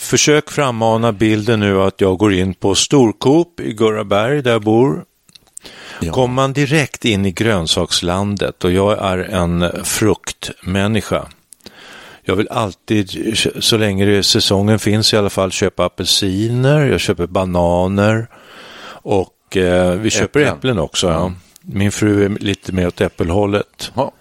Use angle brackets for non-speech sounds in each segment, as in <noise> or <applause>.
Försök frammana bilden nu att jag går in på Storkop i Gurraberg där jag bor. Ja. Kommer man direkt in i grönsakslandet och jag är en fruktmänniska. Jag vill alltid, så länge det- säsongen finns i alla fall, köpa apelsiner, jag köper bananer och eh, vi köper Äpplen. äpplen, också. Ja. Min fru är lite mer åt äppelhållet. Ja.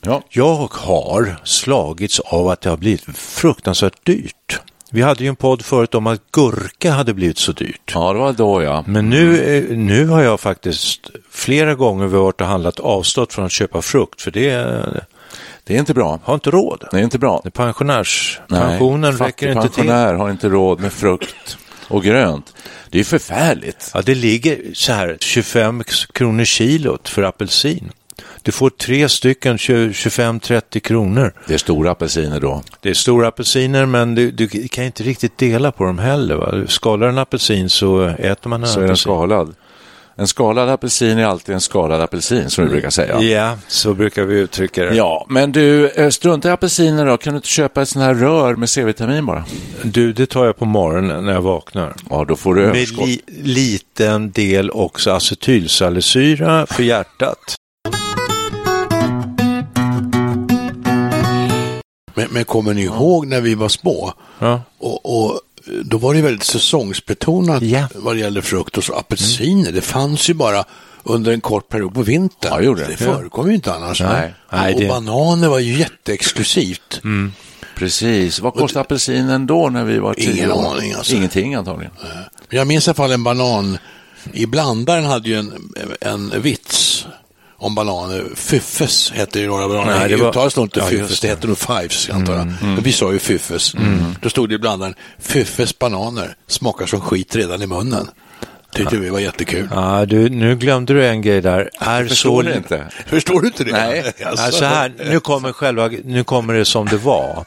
Ja. Jag har slagits av att det har blivit fruktansvärt dyrt. Vi hade ju en podd förut om att gurka hade blivit så dyrt. ja, det var då ja. Men nu, eh, nu har jag faktiskt flera gånger vi har varit och handlat avstått från att köpa frukt för det eh, Det är inte bra. har inte råd. Det är inte bra. Det är pensionärs... Nej, Pensionen räcker inte till. fattigpensionär har inte råd med frukt och grönt. Det är förfärligt. Ja, det ligger så här 25 kronor kilot för apelsin. Du får tre stycken 25-30 kronor. Det är stora apelsiner då. Det är stora apelsiner men du, du kan inte riktigt dela på dem heller. Va? Du Skalar en apelsin så äter man en Så är den apelsin. skalad. En skalad apelsin är alltid en skalad apelsin som vi Mm. brukar säga. Ja, så brukar vi uttrycka det. Ja, men du, eh, strunta i apelsiner då. Kan du inte köpa ett sån här rör med C-vitamin bara? Du, det tar jag på morgonen när jag vaknar. Ja, då får du Med överskott. li, liten del också acetylsalicyra för hjärtat. Men, men kommer ni ihåg när vi var små? Ja. Och, och då var det väldigt säsongsbetonat Ja. vad det gäller frukt och så. Apelsiner, det fanns ju bara under en kort period på vintern. Ja, gjorde det. förekom ju inte annars. Nej. Nej, och det- bananer var ju jätteexklusivt. Precis. Vad kostade apelsinen då när vi var tio Ingen år? aning, alltså. Ingenting antagligen. Jag minns i alla fall en banan, i blandaren hade ju en, en vits om bananer. Fyffes hette ju några bananer. Nej, Nej, det det var- uttalas nog inte Ja, Fyffes, just Mm, det hette nog Fives antar jag. Men vi sa ju Fyffes. Då stod det i blandaren, Fyffes bananer smakar som skit redan i munnen. Tyckte vi var jättekul. Ja, du, nu glömde du en grej där. Är Förstår så, ni inte? Förstår du inte det? Nej. <laughs> Alltså. Ja, så här, nu kommer själva, nu kommer det som det var.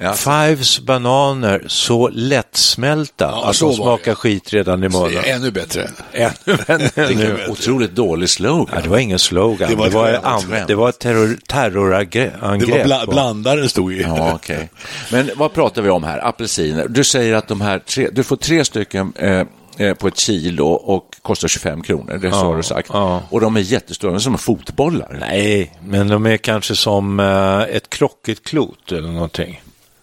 Ja. Fives bananer så lättsmälta Ja, att så de var smakar det. skit redan i Det munnen. är Ännu bättre. Ännu <laughs> Vilken värre. otroligt dålig slogan. Ja, det var ingen slogan, det Det var, var det var, ett an- skämt. det var ett terror, terrorangrepp. Det var bla- på- blandaren stod ju. Ja, okej. Men vad pratar vi om här? Apelsiner. Du säger att de här tre, du får tre stycken eh, eh, på ett kilo och kostar 25 kronor, det har du sagt. ja. Och de är jättestora, de är som fotbollar. Nej, men de är kanske som eh, ett krockigt klot eller någonting.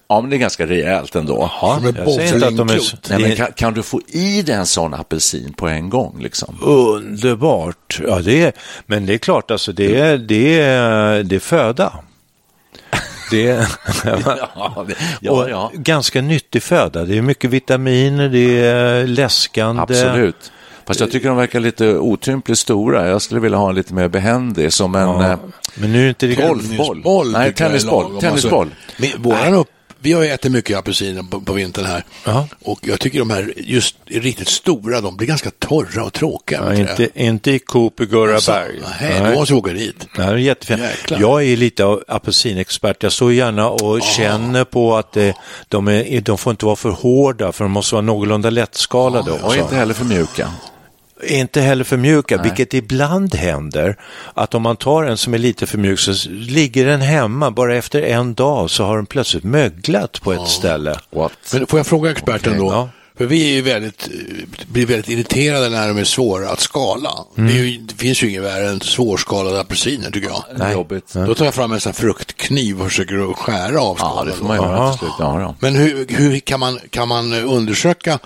Ja, men det är ganska rejält ändå. Som en jag säger inte att de är... bowlingklot. Nej, men det är kan, kan du få i dig en sån apelsin på en <laughs> gång? Liksom? underbart. Ja, det är, men det är klart, alltså, det, är, det, är, det är föda. <laughs> Det är, <laughs> Ja, det- ja, och ja. ganska nyttig föda. Det är mycket vitaminer, det är läskande. absolut. Fast jag tycker de verkar lite otympligt stora. Jag skulle vilja ha en lite mer behändig, som en... eh, Men nu är det inte riktigt... Golf. Golfboll. Tennisboll. Nej, tycker jag är tennisboll. lagom. Tennisboll. Alltså, men våran upp, vi har ju ätit mycket apelsiner på, på vintern här. Ja. Och jag tycker de här just riktigt stora, de blir ganska torra och tråkiga. Ja, vet du. inte, inte i Coop i Så, Gurraberg. Nej, då måste vi åka dit. Ja, det är jättefint. Jäklar. Jag är lite av apelsinexpert. Jag står gärna och Ah. känner på att eh, de, är, de får inte vara för hårda för de måste vara någorlunda lättskalade Ah, Och också. inte heller för mjuka. Inte heller för mjuka, vilket ibland händer. Att om man tar en som är lite för mjuk så s- ligger den hemma bara efter en dag så har den plötsligt möglat Ah. på ett ställe. What? Men får jag fråga experten då? ja. För vi är ju väldigt, eh, blir väldigt irriterade när de är svåra att skala. Mm. Det, är ju, det finns ju inget värre än svårskalade apelsiner tycker jag. Nej. Jobbigt. Då tar jag fram en sån här fruktkniv och försöker att skära av Ja, skalen. det får man göra till slut. Ja, ja. Men hur, hur kan, man, kan man undersöka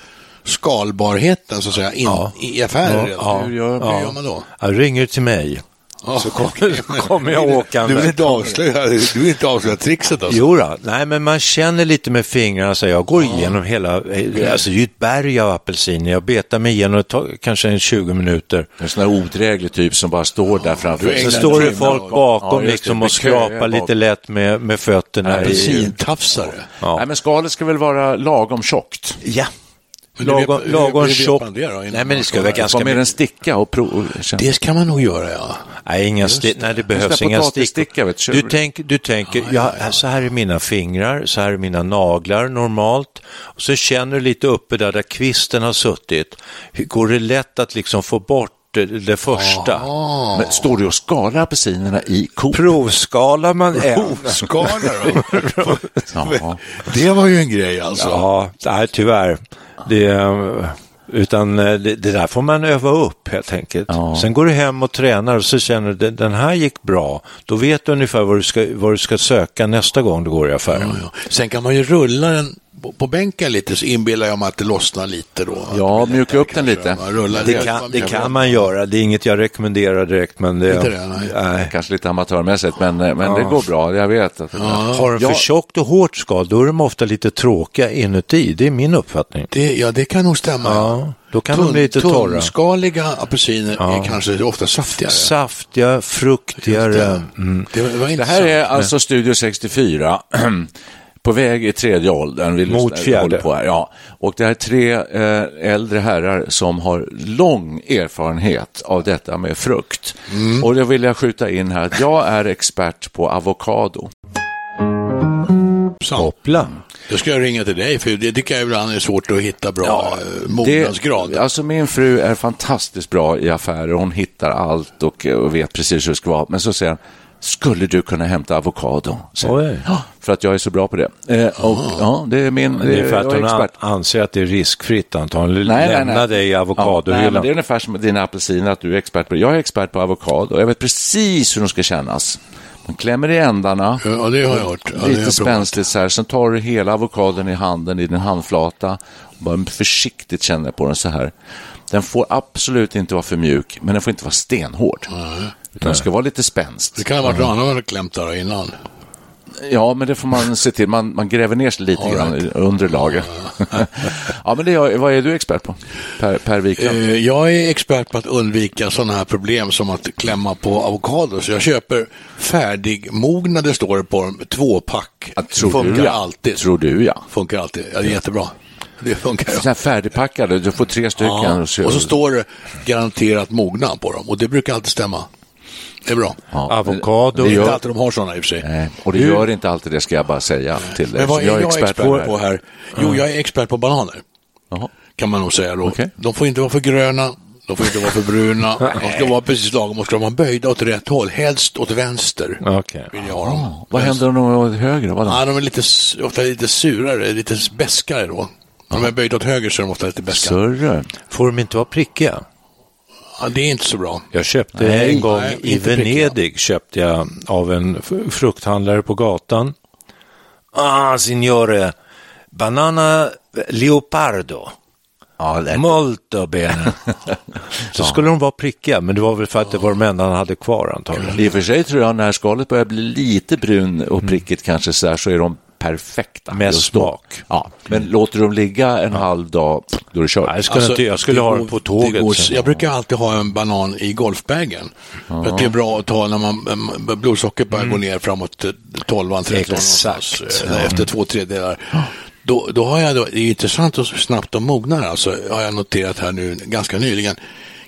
skalbarheten så att säga in, i affärer? redan? Hur, gör, hur gör man då? Ja, ringer till mig. Så kommer, kommer jag åkande. <laughs> Du vill inte avslöja, du vill inte avslöja trickset alltså? Jo då, nej men man känner lite med fingrarna så jag går Ah. igenom hela, alltså det är ju ett berg av apelsiner, jag betar mig igenom det tar kanske en 20 minuter. En sån här odräglig typ som bara står där framför. du är Så Ägnar står det timmen folk åt- bakom Ja, just liksom det, och med köer skrapar bak. lite lätt med, med fötterna. i, Apelsintafsare? Ja. Nej, men skalet ska väl vara lagom tjockt? ja. Men hur vet- Lagom, hur- lagom hur vet tjock. man det då, innan Nej men det ska man vara ska- ganska Ska med en mycket. sticka och prova? Och känna. Det ska man nog göra ja. Nej, inga sti- nej, det behövs Sån där inga potatissticka, stickor. vet du, Du, kör- tänk, du tänker, ja, så här är mina fingrar, så här är mina naglar normalt. Och så känner du lite uppe där, där kvisten har suttit. Hur- Går det lätt att liksom få bort det, det första? Men står du och skalar apelsinerna i Coop? Provskalar man en. Hovskalar <laughs> då? Ja. Det var ju en grej alltså. Ja, nej, tyvärr. Det, eh, utan eh, det, det där får man öva upp helt enkelt. Ja. Sen går du hem och tränar och så känner du "Den- den här gick bra. Då vet du ungefär vad du ska, vad du ska söka nästa gång du går i affären. Ja, ja. Sen kan man ju rulla den på, på bänken lite så inbillar jag mig att det lossnar lite då. Ja, mjuka upp den lite. Man rullar Det ner. kan, det kan man göra, det är inget jag rekommenderar direkt. Men det, Inte det, nej. Kanske lite amatörmässigt, men, eh, men det går bra. Jag vet att Har de för Ja. tjockt och hårt skal, då är de ofta lite tråkiga inuti. Det är min uppfattning. Det, ja, det kan nog stämma. Ja, då kan de bli lite torra. Tunnskaliga apelsiner är kanske ofta saftigare. Saftiga, fruktigare. Mm. Det var Det intressant. här är eh. alltså Studio 64. <clears throat> På väg i tredje åldern. Vi Mot lyssnar- fjärde. håller På här. Ja. Och det här är tre eh, äldre herrar som har lång erfarenhet av detta med frukt. Mm. Och då vill jag skjuta in här att jag är expert på avokado. Sant. Hoppla. Då ska jag ringa till dig, för det tycker jag ibland är svårt att hitta bra ja, mognadsgrad. Det, alltså min fru är fantastiskt bra i affärer. Hon hittar allt och, eh, och vet precis hur det ska vara. Men så säger han, skulle du kunna hämta avokado? Säger han. Oj. Ja, för att jag är så bra på det. Eh, och, ja, det är min... Det är för jag att hon an- expert. anser att det är riskfritt antagligen. Lämna dig i Ja, nej, men avokadohyllan. det är ungefär som dina apelsiner, att du är expert på. Jag är expert på avokado. Jag vet precis hur de ska kännas. Man klämmer i ändarna. Ja, det har jag hört. Ja, det har jag Lite provat. spänsligt så här, sen tar du hela avokadon i handen i din handflata och bara försiktigt känner på den så här. Den får absolut inte vara för mjuk, men den får inte vara stenhård. Utan den ska vara lite spänst. Det kan ha varit någon annan som klämt där innan. Ja, men det får man se till. Man, man gräver ner sig lite All grann i- under lager. <laughs> ja, men det är, vad är du expert på, Per, per Wiklund? Eh, Jag är expert på att undvika sådana här problem som att klämma på avokado. Så jag köper färdigmognade, står det på dem, tvåpack. funkar du, ja. alltid. Tror du, ja. Funkar alltid. Ja, det är jättebra. Det funkar. Så här färdigpackade, du får tre stycken. Ja. och så- Och så står det garanterat mogna på dem och det brukar alltid stämma. Det är bra. Ja, Avokado. det Det är gör- inte alltid de har sådana i och för sig. Nej, och det gör inte alltid det, ska jag bara säga till dig. Men vad Så är jag, expert, det på här? Jo, jag är expert på bananer. Jaha. Kan man nog säga då. Okej. De får inte vara för gröna, de får inte vara för <laughs> bruna. de ska vara precis lagom och ska vara böjda åt rätt håll. Helst åt vänster Okej. vill jag ha dem. Ah, Vad händer om de är åt höger? Vadå? Ja, de är lite, s- ofta lite surare, lite beskare då. Om de är böjda åt höger så är de ofta lite beskare. Större. Får de inte vara prickiga? Ja, det är inte så bra. Jag köpte Nej, en gång nej, i inte prickiga. Venedig köpte jag av en f- frukthandlare på gatan. Ah, signore, banana leopardo, Ja, det molto <laughs> bene. Så skulle de vara prickiga, men det var väl för att det var de enda han hade kvar antagligen. I och för sig tror jag när skalet börjar bli lite brun och prickigt kanske så här så är de perfekta. Med just då. smak. Ja, men låter du dem ligga en halv dag, då är Alltså, det Ah. kört. Nej, jag skulle, inte, jag skulle Alltså, det ha går- den på det tåget. går- sen. jag brukar alltid ha en banan i golfbagen. För att det är bra att ta när man äm, blodsockret börjar gå ner framåt eh, 12 13 Mm. Exakt. eh, Efter två tredjedelar. Då, då har jag då, det är intressant hur snabbt de mognar alltså, har jag noterat här nu ganska nyligen.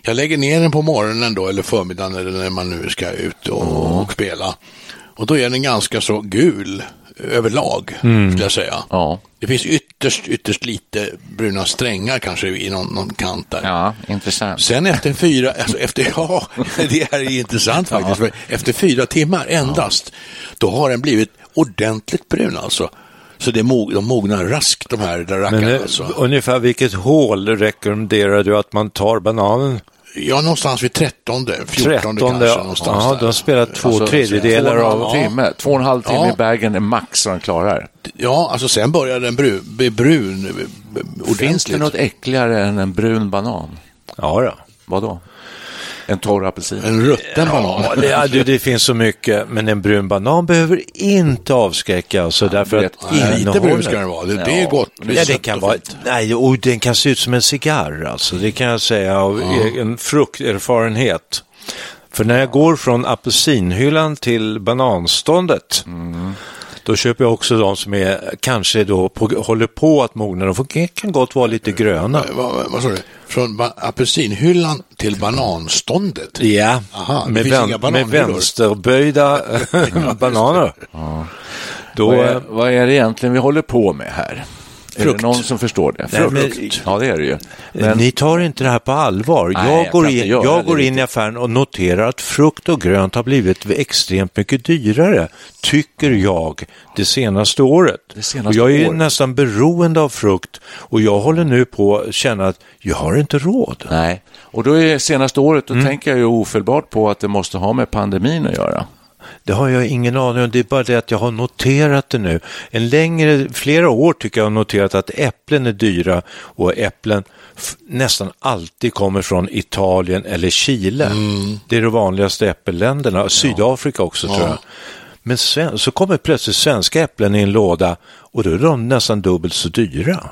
Jag lägger ner den på morgonen då eller förmiddagen eller när man nu ska ut och, och spela. Och då är den ganska så gul eh, överlag Mm. skulle jag säga. Ja. Det finns ytterst, ytterst lite bruna strängar kanske i någon, någon kant där. Ja, intressant. Sen efter fyra, alltså efter, <laughs> ja, det här är intressant faktiskt, för efter fyra timmar endast, då har den blivit ordentligt brun alltså. Så det mo- de mognar raskt de här där Men rackarna eh, alltså. ungefär vilket hål rekommenderar du att man tar bananen? Ja, någonstans vid trettonde, fjortonde kanske. Trettonde? Någonstans Ja, där. de spelar två Alltså, tredjedelar två och en av... halv Timme, två och en halv timme Ja. i bagen är max vad den klarar. ja, alltså sen börjar den bru- bli brun eh, b- ordentligt. Finns det något äckligare än en brun banan? Ja, då. Vad då? En torr apelsin? En rutten banan. Ja, det, ja, du, det finns så mycket, men en brun banan behöver inte avskräcka. Alltså, därför vet. att Nej, lite brun innehållet- ska den vara, det, det är gott. Ja, det kan vara, nej, och den kan se ut som en cigarr alltså, det kan jag säga av egen frukterfarenhet. För när jag går från apelsinhyllan till bananståndet, Mm. då köper jag också de som är, kanske då på, håller på att mogna, de får, kan gott vara lite gröna. Vad, Eh, vad, vad sa du? Från ba- apelsinhyllan till bananståndet? Ja, Aha, det med, finns vän, inga med bananhyllor. <laughs> vänsterböjda bananer. Då, eh, eh, Vad är, vad är det egentligen vi håller på med här? Är det någon som förstår det? Nej, men- Ja, det är det ju. Men Ni tar inte det här på allvar. Nej, jag jag går, kan inte in, göra jag det går in riktigt. i affären och noterar att frukt och grönt har blivit extremt mycket dyrare, tycker jag, det senaste året. Det senaste och jag är ju året. nästan beroende av frukt och jag håller nu på att känna att jag har inte råd. Nej, och då är senaste året, då tänker jag ju ofelbart på att det måste ha med pandemin att göra. Det har jag ingen aning om, det är bara det att jag har noterat det nu. En längre, flera år tycker jag har noterat att äpplen är dyra och äpplen f- nästan alltid kommer från Italien eller Chile. Det är de vanligaste äppelländerna, Sydafrika också tror jag. Men sen, så kommer plötsligt svenska äpplen i en låda och då är de nästan dubbelt så dyra.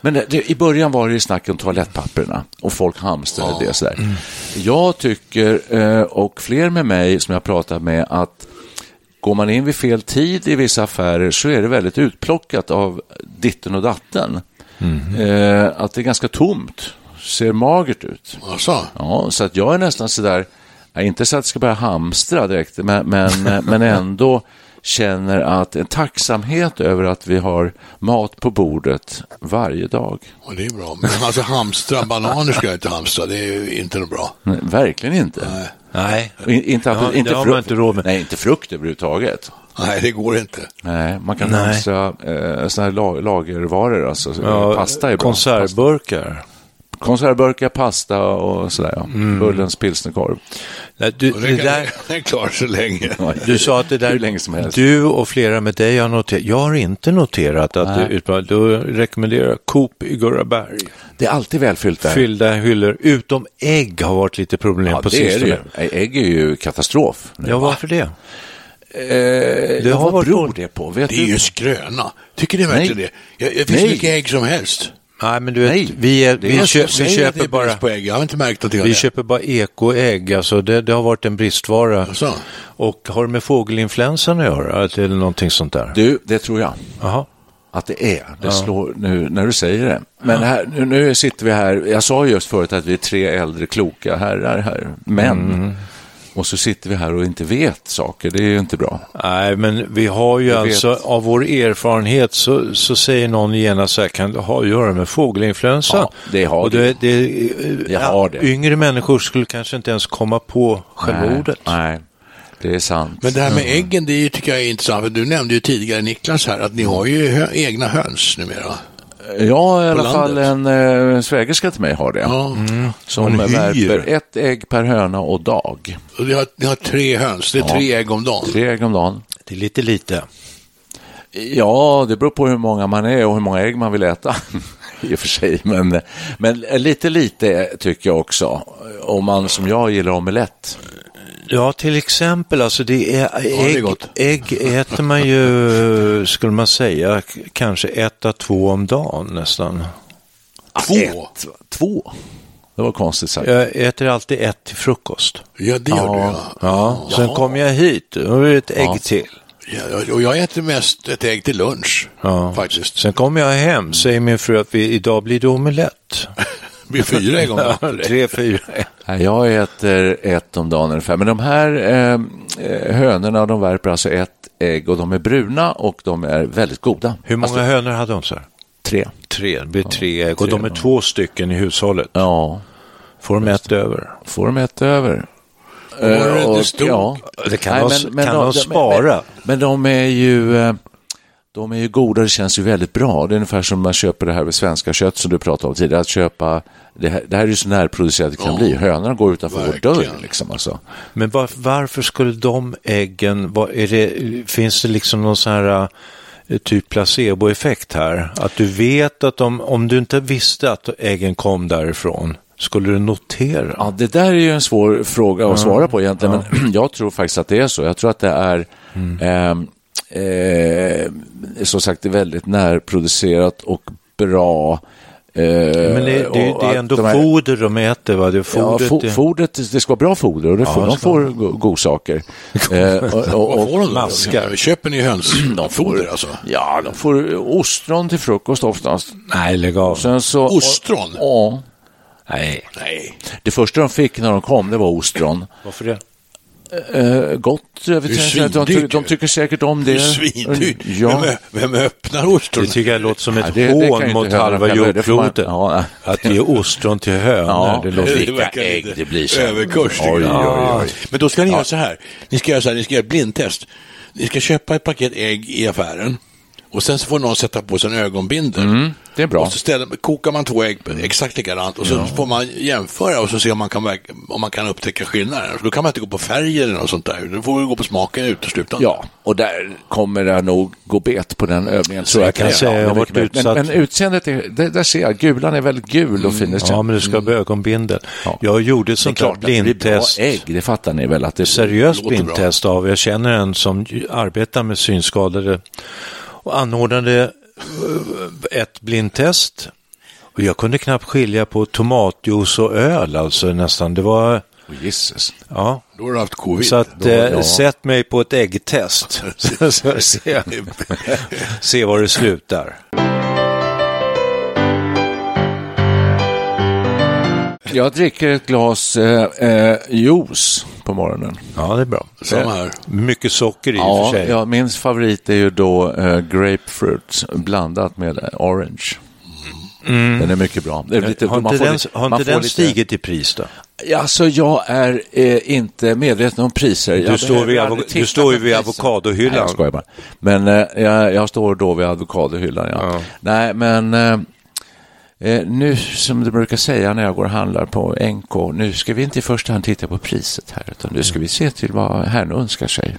Men det, det, i början var det ju snack om toalettpapperna och folk hamstrade det sådär. Jag tycker, eh, och fler med mig som jag pratat med, att går man in vid fel tid i vissa affärer så är det väldigt utplockat av ditten och datten. Eh, att det är ganska tomt, ser magert ut. Alltså, Ja, så att jag är nästan sådär, ja, inte så att jag ska börja hamstra direkt, men, men, <laughs> men ändå känner att en tacksamhet över att vi har mat på bordet varje dag. ja, det är bra. Men alltså hamstra, bananer ska jag inte hamstra, det är ju inte något bra. Nej, verkligen inte. Nej. Och in- Inte, apel- Ja, det inte, har man frukt, inte råd med. Nej, inte frukt överhuvudtaget. Nej, det går inte. Nej, man kan Nej. hamstra eh, såna här la- lagervaror, alltså pasta är bra. Pasta. konservburkar. Konservburkar, pasta och sådär. Ja. Mm. Bullens pilsnerkorv. Nej, du, Och det Det, där- kan, <laughs> det är klart så länge. Du sa att det där, Hur länge som helst. du och flera med dig har noterat, jag har inte noterat att det utmanat, då rekommenderar jag Coop i Gurraberg. Det är alltid välfyllt där. Fyllda hyllor, utom ägg har varit lite problem ja, på det är det ju. sistone. Ägg är ju katastrof. nu. Ja, varför det? det har har varit vad beror dåligt. det på? Vet Det är ju en skröna. Tycker ni verkligen Nej. det? Ja, det finns Nej. mycket ägg som helst. Nej, men du vet, Nej, vi, är, är vi, så köp, Säg vi att det köper är bara brist på ägg, jag har inte märkt någonting av vi det. köper bara ekoägg, alltså det, det har varit en bristvara. Jaså? Och har det med fågelinfluensan att göra, att det är någonting sånt där? Du, det tror jag Jaha. att det är. Det slår nu när du säger det. Men här, nu, nu sitter vi här. Jag sa just förut att vi är tre äldre kloka herrar här, män. Och så sitter vi här och inte vet saker. Det är ju inte bra. Nej, men vi har ju Jag alltså, vet. av vår erfarenhet så, så säger någon genast så här, kan det ha att göra med fågelinfluensa? Ja, det har och det. det, Det har det. Yngre människor skulle kanske inte ens komma på själva Nej, ordet. Nej, det är sant. Men det här med äggen, det är ju- tycker jag är intressant. För du nämnde ju tidigare, Niklas, här att ni har ju hö- egna höns numera. Eh, Ja, i alla fall landet. en eh, svägerska till mig har det. Ja. Som Man hyr. värper ett ägg per höna och dag. Och ni, har, ni har tre höns, det är tre ägg om dagen. Tre ägg om dagen. Det är lite lite. Ja, det beror på hur många man är och hur många ägg man vill äta. <laughs> I och för sig, men, men lite lite tycker jag också. Om man som jag gillar omelett. Ja, till exempel, alltså det är, det är ägg, gott. ägg äter man ju, skulle man säga, k- kanske ett à två om dagen nästan. Två? Ett, två? Det var konstigt sagt. Jag äter alltid ett till frukost. Ja, det gör du ja. Ja, sen kommer jag hit, då är det ett ägg till. Ja, och jag äter mest ett ägg till lunch Ja. faktiskt. Sen kommer jag hem, säger min fru att vi, idag blir det omelett. Det blir <laughs> fyra ägg om dagen. Tre, fyra. Nej, Jag äter ett om dagen ungefär. Men de här eh, eh, hönorna de värper alltså ett ägg och de är bruna och de är väldigt goda. Hur många hönor hade hon? Så här? Alltså- Tre. Tre, det blir tre ägg. Och tre, de är ja. två stycken i hushållet. Ja, Får de ett över. får de ett över. är det Eh, det stod? Det kan de- kan de spara. Men, men de är ju... eh, De är ju goda, det känns ju väldigt bra. Det är ungefär som man köper det här med svenska kött som du pratade om tidigare. Att köpa, det, här, det här är ju så närproducerat det kan bli. Hönorna går utanför vår dörr. verkligen. Liksom, alltså. Men var, varför skulle de äggen, vad är det, finns det liksom någon sån här eh, typ placeboeffekt här? Att du vet att de, om du inte visste att äggen kom därifrån, skulle du notera? Ja, det där är ju en svår fråga att svara på egentligen, men <clears throat> jag tror faktiskt att det är så. Jag tror att det är, Mm. eh, eh, som sagt, det är väldigt närproducerat och bra. Eh, Men det, det, och det att är ändå de här- foder de äter, va? Det är Ja, fodret, fo- fodret, det ska vara bra foder och det får, det de ska får <laughs> go- godsaker. Eh, och- och- Vad och- får de då? maskar. Köper ni <clears throat> hönsfoder alltså? Ja, de får ostron till frukost oftast. Nej, lägg av. Sen så, Ostron? Ja. Nej, Nej, Det första de fick när de kom, det var ostron. varför det? Eh, gott. Jag vet Det är inte, de, svindyrt ty- de ju. tycker säkert om det. det är svindyrt. Ja. Vem, vem öppnar ostron? Det tycker jag låter som Nej, ett det- det kan ju hån inte mot höra halva själva, det får man- jordklotet. ja, nej. Att ge ostron till hönor, Ja. det låter... Vilka ägg lite det blir sen. Överkurs. tycker Oj, jag. oj, Men då ska ni göra så här. Ni ska göra så här, ni ska göra ett blindtest. Ni ska köpa ett paket ägg i affären och sen så får någon sätta på sig en ögonbindel. det är bra. Och så ställer, kokar man två ägg exakt likadant och så får man jämföra och så se om man kan, verk- om man kan upptäcka skillnaden. Då kan man inte gå på färg eller något sånt där. Då får vi gå på smaken uteslutande. Ja, och där kommer jag nog gå bet på den övningen. tror Jag kan Ja, säga, det jag har är varit mycket bättre. Men, utsatt- Mm, men utseendet, är, det, där ser jag, gulan är väldigt gul och fin. Det Ja, känns- men du ska ha ögonbindel. Mm. Ja. Jag gjorde det är sånt klart där att det blir bra blindtest. ägg, det fattar ni väl att det seriöst Låter bra. blindtest av. Jag känner en som ju- arbetar med synskadade och anordnade eh, ett blindtest. Och jag kunde knappt skilja på tomatjuice och öl, alltså nästan. Det var, Oh, Jesus. ja. Då har du haft covid. Så att, eh, ja. sätt mig på ett <laughs> äggtest. Så ska vi se, se var det slutar. Jag dricker ett glas eh, eh, juice på morgonen. Ja, det är bra. Samma här. Mycket socker i och Eh, Ja, för sig. ja, min favorit är ju då eh, grapefruit blandat med eh, orange. Mm. Den är mycket bra. Det är lite, har man inte får den, lite- har man inte får den lite- stigit i pris då? Alltså jag är eh, inte medveten om priser. Du Jag står vid behöver avo- aldrig du titta står ju på vid priser. avokadohyllan. Nej, jag skojar bara. Men eh, jag, jag står då vid avokadohyllan, ja. Nej, men eh, eh, nu som du brukar säga när jag går och handlar på NK, nu ska vi inte i första hand titta på priset här, utan nu ska vi se till vad herrn önskar sig.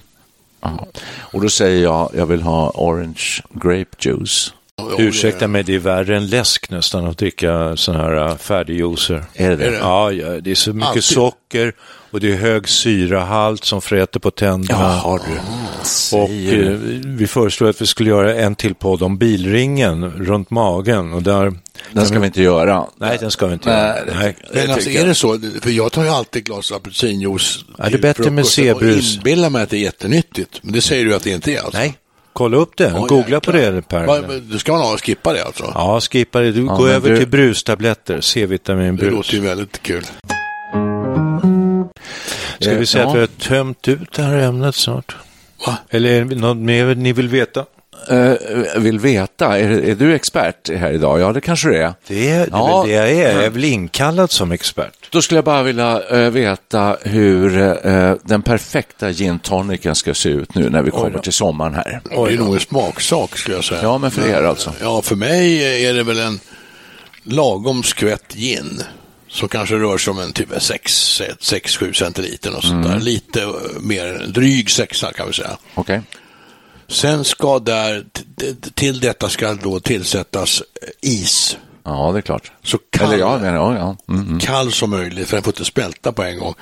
Ja. Och då säger jag, jag vill ha orange grape juice. Ursäkta mig, det är värre än läsk nästan att dricka sådana här äh, färdigjuicer. Är det det? Är det? Ja, ja, det är så mycket Alltid. socker och det är hög syrahalt som fräter på tänderna. Jaha, du. och säger eh, vi föreslog att vi skulle göra en till podd om bilringen runt magen. Och där... Den ska vi inte göra. Nej, den ska vi inte Nej, göra. det- Nej. Men alltså, är det så? För jag tar ju alltid ett glas apelsinjuice Ja, det är till bättre med frukosten C-brus. Och inbillar mig att det är jättenyttigt. Men det säger du att det inte är alltså? Nej, kolla upp det. Ja, Googla på jäklar. det, Va- Per. va- Då ska man ha, skippa det alltså? Ja, skippa det. Du, Ja, gå men över du- till brustabletter, det C-vitaminbrus. låter ju väldigt kul. Ska vi säga Ja. att vi har tömt ut det här ämnet snart? Va? Eller är det något mer ni vill veta? Eh, vill veta, är, är du expert här idag? Ja, det kanske du är. Det är, det, är Ja. väl det jag är. Jag är väl inkallad som expert. Då skulle jag bara vilja eh, veta hur eh, den perfekta gin tonicen ska se ut nu när vi kommer till sommaren här. det är nog en smaksak skulle jag säga. Ja, men för er alltså. Ja, för mig är det väl en lagom skvätt gin. Som kanske rör sig om en typ 6-7 centiliter och sånt Mm. där. Lite eh, mer, dryg sexa kan vi säga. Okej. Sen ska där, t- t- till detta ska då tillsättas eh, is. Ja, det är klart. Så kall, Eller ja, men, ja, ja. Mm. kall som möjligt, för den får inte smälta på en gång.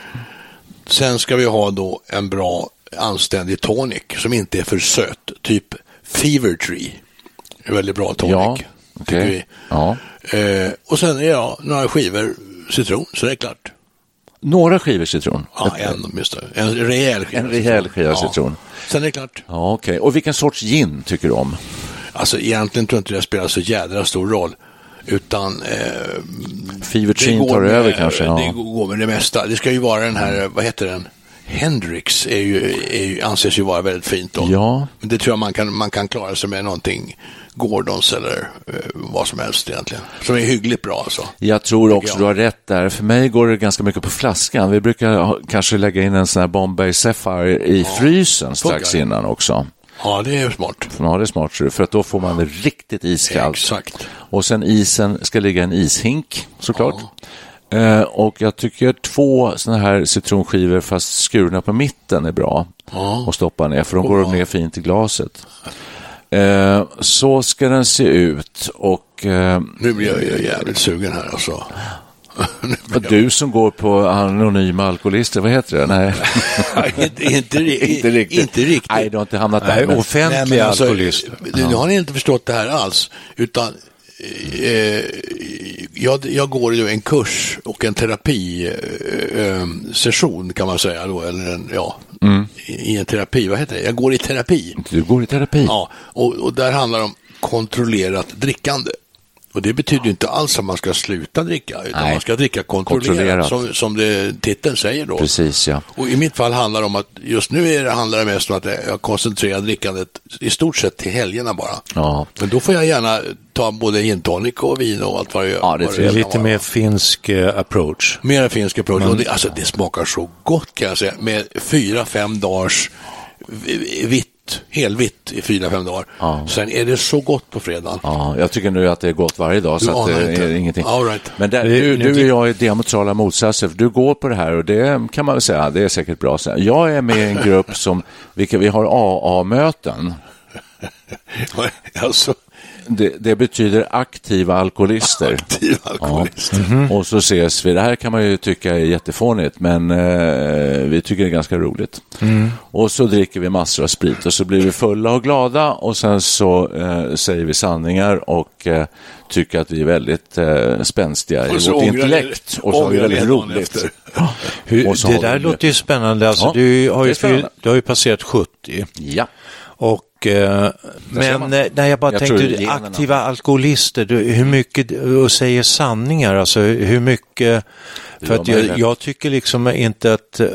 Sen ska vi ha då en bra anständig tonic som inte är för söt, typ Fever Tree. En väldigt bra tonic. Ja, tycker okej. vi. Ja. Eh, och sen är jag några skivor citron, så det är klart. Några skivor citron. Ja, en åtminstone. En rejäl skiva. En rejäl skiva Ja. citron. Sen är det klart. Ja, okej. Och vilken sorts gin tycker du om? Alltså egentligen tror jag inte det spelar så jädra stor roll. Utan eh, Fevertreen tar med, över kanske. Det Ja. går med det mesta. Det ska ju vara den här, vad heter den? Hendrix är ju, är ju, anses ju vara väldigt fint då. Ja. Men det tror jag man kan, man kan klara sig med någonting Gordons eller eh, vad som helst egentligen. Som är hyggligt bra alltså. Jag tror också jag. du har rätt där. För mig går det ganska mycket på flaskan. Vi brukar ha- kanske lägga in en sån här Bombay Sapphire i frysen strax funkar. innan också. Ja, det är ju smart. Ja, det är smart, ser du, för att då får man det riktigt iskallt. Exakt. Och sen isen ska ligga i en ishink såklart. Eh, och jag tycker två sådana här citronskivor fast skurna på mitten är bra att stoppa ner för de går ner fint i glaset. Eh, så ska den se ut och eh, Nu blir jag ju jävligt sugen här alltså. <laughs> Nu blir jag- du som går på anonyma alkoholister, vad heter det? Nej, <laughs> inte, <laughs> inte, ri- <laughs> inte riktigt. Inte riktigt. Nej, du har inte hamnat Nej, där. men- offentliga Nej, men alltså, alkoholister. Nu har ni inte förstått det här alls. Utan eh, jag, jag går ju en kurs och en terapisession eh, em, session kan man säga. Då, eller en, ja, i, I en terapi, vad heter det? Jag går i terapi. Du går i terapi. Ja, och, och där handlar det om kontrollerat drickande. Och det betyder ju inte alls att man ska sluta dricka, utan Nej. man ska dricka kontrollerat, Kontrollerat. som, som det titeln säger då. Precis, ja. Och i mitt fall handlar det om att just nu är det, handlar det mest om att jag koncentrerar drickandet i stort sett till helgerna bara. Ja. Men då får jag gärna ta både gin tonic och vin och allt vad det gör. Ja, det vad tror jag. kan Lite vara. mer finsk eh, approach. Mera finska produkter. Och det, alltså, det smakar så gott kan jag säga. Med fyra, fem dagars v- vitt, helvitt i fyra, fem dagar. Sen är det så gott på fredagen. <laughs> Ja, jag tycker nu att det är gott varje dag, Du så att anar det inte. är ingenting. All right. Men där, du, du och jag är diametrala motsatser, för du går på det här och det kan man väl säga, ja, det är säkert bra. Så Jag är med i en grupp som, vilka vi har AA-möten. alltså, Det, det betyder aktiva alkoholister. aktiv alkoholist. Mhm. Ja. Och så ses vi. Det här kan man ju tycka är jättefånigt, men eh, vi tycker det är ganska roligt. Mm. Och så dricker vi massor av sprit och så blir vi fulla och glada och sen så eh, säger vi sanningar och eh, tycker att vi är väldigt eh, spänstiga i Och så vårt ångrar vi- intellekt. Och så har vi ångrar vi väldigt dagen roligt. efter. Ja. Hur, Och så det har vi där det. låter ju spännande. Alltså, Ja, du, har det är ju, spännande. du har ju passerat 70. Ja. Och, eh, ser men man. eh, nej, jag bara Jag tror det är tänkte, generna. aktiva alkoholister, du, hur mycket, och säger sanningar, alltså hur mycket, för Ja, att men det är jag, rätt. jag tycker liksom inte att eh,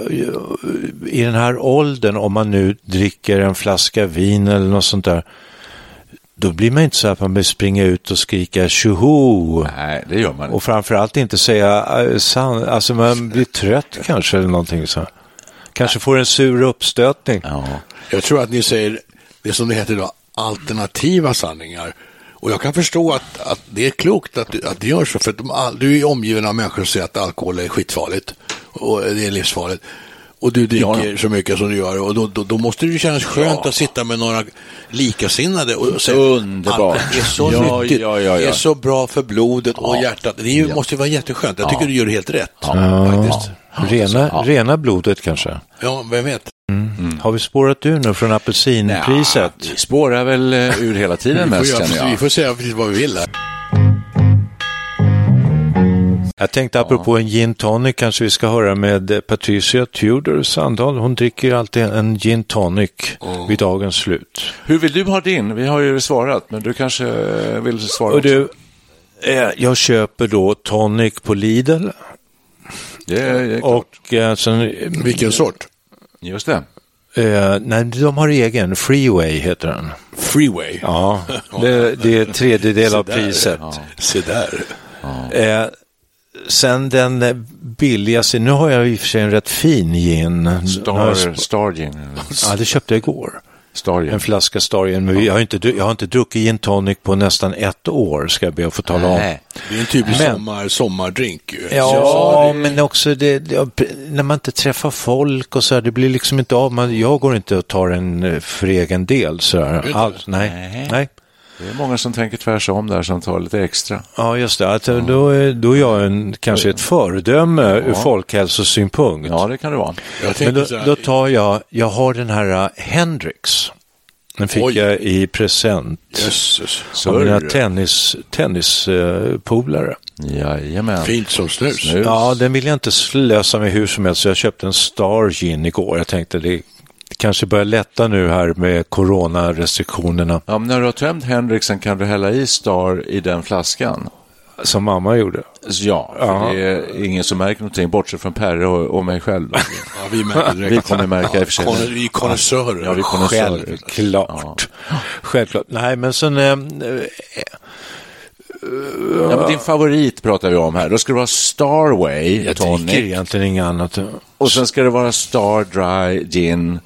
i den här åldern, om man nu dricker en flaska vin eller något sånt där, då blir man inte så att man vill springa ut och skrika tjoho. Nej, det gör man inte. Och framförallt inte säga eh, san, alltså man blir trött kanske eller någonting så. Kanske får en sur uppstötning. Ja. Jag tror att ni säger det som det heter idag, alternativa sanningar. Och jag kan förstå att, att det är klokt att du, att du gör så, för att de, all- du är omgiven av människor som säger att alkohol är skitfarligt och det är livsfarligt. Och du dricker så mycket som du gör och då, då, då måste det ju kännas skönt att sitta med några likasinnade och säga Underbart. "Ah, det är så Ja, nyttigt, ja, ja, ja. det är så bra för blodet och hjärtat. Det är ju, måste ju vara jätteskönt. Jag tycker du gör helt rätt. Faktiskt. Rena, rena blodet kanske. Ja, vem vet. Har vi spårat ur nu från apelsinpriset? Vi spårar väl eh, ur hela <laughs> tiden Vi får, mest, känner göra, vi jag. får säga precis vad vi vill här. Jag tänkte apropå en gin tonic kanske vi ska höra med eh, Patricia Tudor Sandahl. Hon dricker ju alltid en gin tonic vid dagens slut. Hur vill du ha din? Vi har ju svarat, men du kanske eh, vill svara Och också. du, eh, jag köper då tonic på Lidl Det är, det är klart. och eh, sen Vilken sort? Just det. Eh, nej, de har egen. Freeway heter den. Freeway. Ja, det, det är tredjedel av Så där, priset. Se där. Eh, sen den eh, billigaste, nu har jag i och för sig en rätt fin gin. Nu har jag Star, sp- Star Gin. Ja, det köpte jag igår. Star Gin. En flaska Star Gin, men vi- jag har, inte, dru- jag har inte druckit gin tonic på nästan ett år, ska jag be att få tala om. Nej. Det är en typisk Men- sommar, sommardrink. ju. Ja, Så- men också det, det- ja, p- när man inte träffar folk och så här, det blir liksom inte av. Man, jag går inte och tar en eh, för egen del så här. Alls, nej. nej. Det är många som tänker tvärsom där, som tar lite extra. Ja, just det. Att, eh, då, är, då är jag en, kanske ett föredöme ur folkhälsosynpunkt. Ja, det kan det vara. Jag Men tänkte då, så här, då tar jag, jag har den här eh, Hendrix. Den fick Oj. jag i present jösses. av mina Surr. tennispolare. Tennis, eh, polare. Jajamän. Fint som snus. Snus. ja, den vill jag inte slösa med hur som helst så jag köpte en Star Gin igår. Jag tänkte det, det kanske börjar lätta nu här med coronarestriktionerna Ja, men när du har tömt Henriksen kan du hälla i Star i den flaskan. som mamma gjorde. Så Ja, för Ja. det är ingen som märker någonting, bortsett från Perre och, och mig själv. då. Ja, <laughs> vi märker direkt. Vi kommer märka i och för sig. Kon- Vi är konnässörer. Ja, vi kommer Självklart. Självklart. Nej, men sen... eh, eh, Ja, men din favorit pratar vi om här. Då ska det vara Starway jag dricker tonic egentligen inget annat. och sen ska det vara Star Dry gin.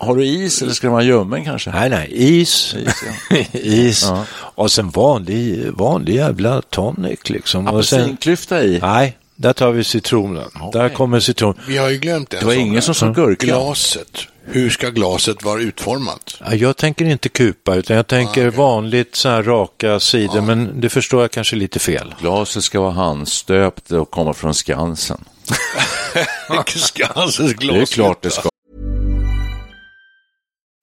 Har du is eller ska det vara ljummen kanske? Nej, nej, is. <laughs> Is, Ja. Och sen vanlig, vanlig jävla tonic liksom. Och sen, Apelsinklyfta i. nej, där tar vi citronen. Där kommer citronen. Vi har ju glömt en Det var sak här. ingen som sa gurka. Glaset. Hur ska glaset <laughs> vara utformat? Ja, Jag tänker inte kupa, utan jag Ah, tänker vanligt så här raka sidor, men det förstår jag kanske lite fel. Glaset ska vara handstöpt och komma från Skansen. Skansens glas. Det är klart det alltså. ska.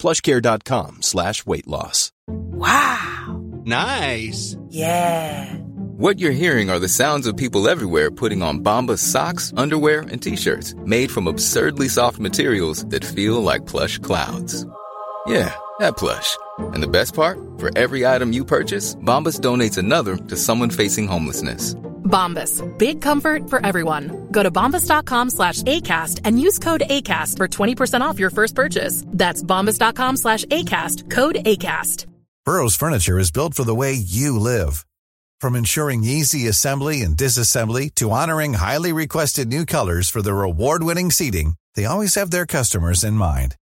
plushcare.com slash weight loss. Nice. Yeah. What you're hearing are the sounds of people everywhere putting on Bombas socks, underwear, and t-shirts made from absurdly soft materials that feel like plush clouds. Yeah, that plush. And the best part? For every item you purchase, Bombas donates another to someone facing homelessness. Bombas. Big comfort for everyone. Go to bombas.com slash ACAST and use code ACAST for 20% off your first purchase. That's bombas.com slash ACAST. Code ACAST. Burrow's furniture is built for the way you live. From ensuring easy assembly and disassembly to honoring highly requested new colors for their award-winning seating, they always have their customers in mind.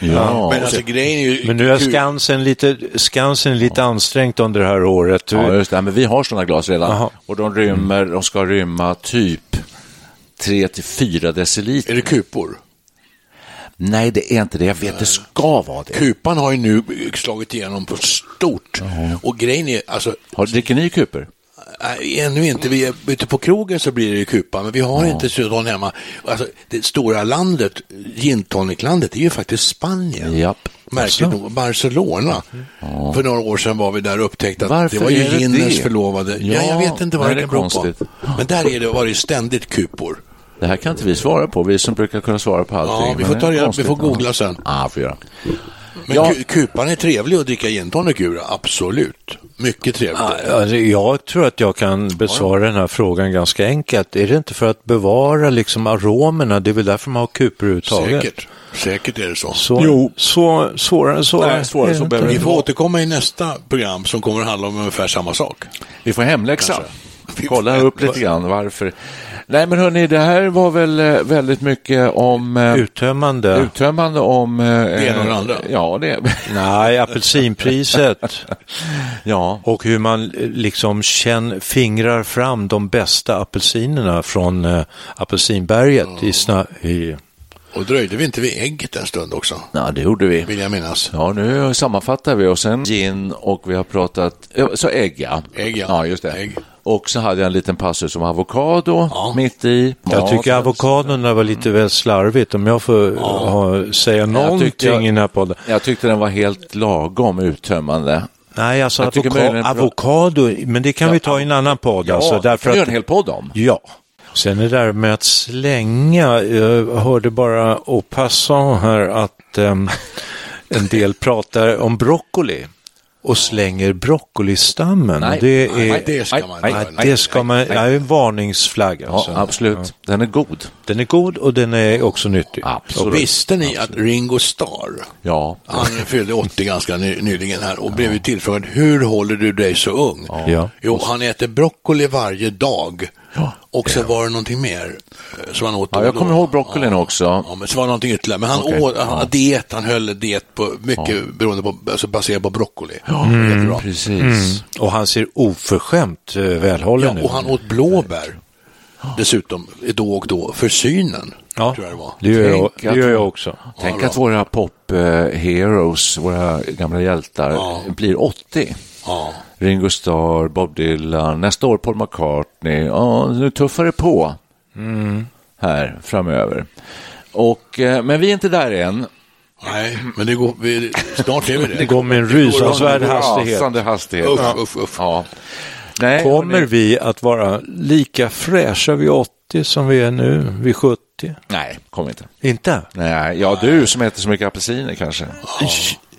Ja. Men alltså grejen är ju... Men nu är kul. Skansen lite, Skansen lite ansträngt under det här året. Ja, just det. Men vi har sådana glas redan. Jaha. Och de rymmer, de ska rymma typ 3 till 4 deciliter. Är det kupor? Nej, det är inte det. Jag vet, det ska vara det. Kupan har ju nu slagit igenom på stort. Och grejen är, alltså, Har, dricker ni kuper? Nej, ännu inte. Vi är ute på krogen så blir det ju kupa, men vi har inte sådan hemma. Alltså, det stora landet, gin tonic-landet, det är ju faktiskt Spanien. Japp. Märkligt nog, Barcelona. För några år sedan var vi där och upptäckte att Varför det var ju är det ginens det? förlovade. Ja, Ja, jag vet inte vad nej, det det är kan bero på. konstigt. Men där är det, var det ständigt kupor. Det här kan inte vi svara på, vi som brukar kunna svara på allting. Ja, vi Men får det är ta reda, vi konstigt. får googla sen. Ja, vi får göra. Men Ja. ku- kupan är trevlig att dricka gin tonic ur, absolut. Mycket trevligt. Ja, det- Jag tror att jag kan besvara den här frågan ganska enkelt. Är det inte för att bevara liksom aromerna? Det är väl därför man har kupor överhuvudtaget? Säkert. Säkert är det så. Så, jo. Så, svårare än så? Nej, svårare är det så inte. behöver Vi får återkomma i nästa program som kommer att handla om ungefär samma sak. Vi får hemläxa. Kolla upp lite grann varför. Nej, men hörni, det här var väl eh, väldigt mycket om... eh, Uttömmande? Uttömmande om... Det ena och det andra. Ja, det... <laughs> Nej, apelsinpriset. ja. och hur man eh, liksom känn, fingrar fram de bästa apelsinerna från eh, apelsinberget i, sna, i Och dröjde vi inte vid ägget en stund också, ja, det gjorde vi. vill jag minnas. Ja, nu sammanfattar vi och sen gin och vi har pratat, eh, så ägg ja. Ägg, ja. just det. Ägg. Och så hade jag en liten passus om avokado mitt i. Jag Ja, tycker avokadona var lite väl slarvigt om jag får ha, säga någonting tyckte jag- i den här podden. Jag tyckte den var helt lagom uttömmande. Nej, alltså Jag tycker avoka- möjligen- avokado, men det kan vi ta i en annan podd. alltså, det kan därför vi att, göra en hel podd om. Ja, Sen är det där med att slänga. Jag hörde bara au passant här att em, en <laughs> del pratar om broccoli och slänger broccolistammen. Nej. det är, Nej, det ska man nej, inte Ja, göra. det ska man, det är en varningsflagga. Ja, alltså. absolut. Den är god. Den är god och den är också nyttig. Absolut. Och visst, Visste ni att Ringo Starr, Ja. han fyllde 80 ganska ny, nyligen här och blev ju tillfrågad hur håller du dig så ung? Ja. Jo, han äter broccoli varje dag och så var det någonting mer eh, som han åt Ja, då jag och kommer då. ihåg broccolin också. Ja, men så var det någonting ytterligare. Men han Okej. åt, han, Ja. diet, han höll diet på mycket beroende på, alltså baserat på broccoli. Ja, Precis. Och han ser oförskämt eh, ja, välhållen ut. och han åt blåbär dessutom då och då för synen. Ja, Tror jag det var. det gör jag, Tänk det att- gör jag också. Tänk att våra pop-heroes, våra gamla hjältar, blir 80. Ja. Ringo Starr, Bob Dylan, nästa år Paul McCartney. Ja, nu tuffar det på Mm. här framöver. Och, eh, men vi är inte där än. Nej, men det går, vi, snart <laughs> är vi det. Det går med en rusansvärd Det går hastighet. Rasande hastighet. Uff, uff, uff. Ja. Nej, Kommer hörni. vi att vara lika fräscha vid 80 som vi är nu vid 70? Nej, kom inte. Inte? Nej, ja, du som äter så mycket apelsiner kanske. Och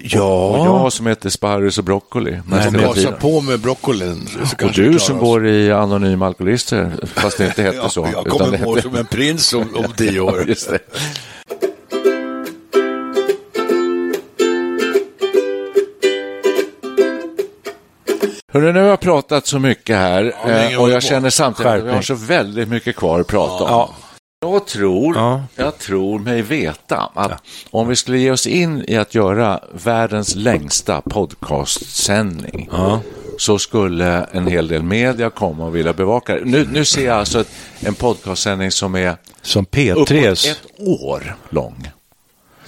Ja, jag som äter sparris och broccoli. Nej, Nästa men tid. passa på med broccolin. så Och kanske vi du klarar som oss. går i Anonyma Alkoholister, fast det <laughs> inte hette Ja, så. Jag utan det kommer hette- gå som en prins <laughs> om, om tio Ja, år. Just det. Hörru, nu har jag pratat så mycket här Ja, länge eh, och håller jag på. känner samtidigt att vi har så väldigt mycket kvar att prata om. Jag, tror, Ja. jag tror mig veta att om vi skulle ge oss in i att göra världens längsta podcastsändning så skulle en hel del media komma och vilja bevaka det. Nu, nu ser jag alltså ett, en podcastsändning som är som uppåt P3s. ett år lång.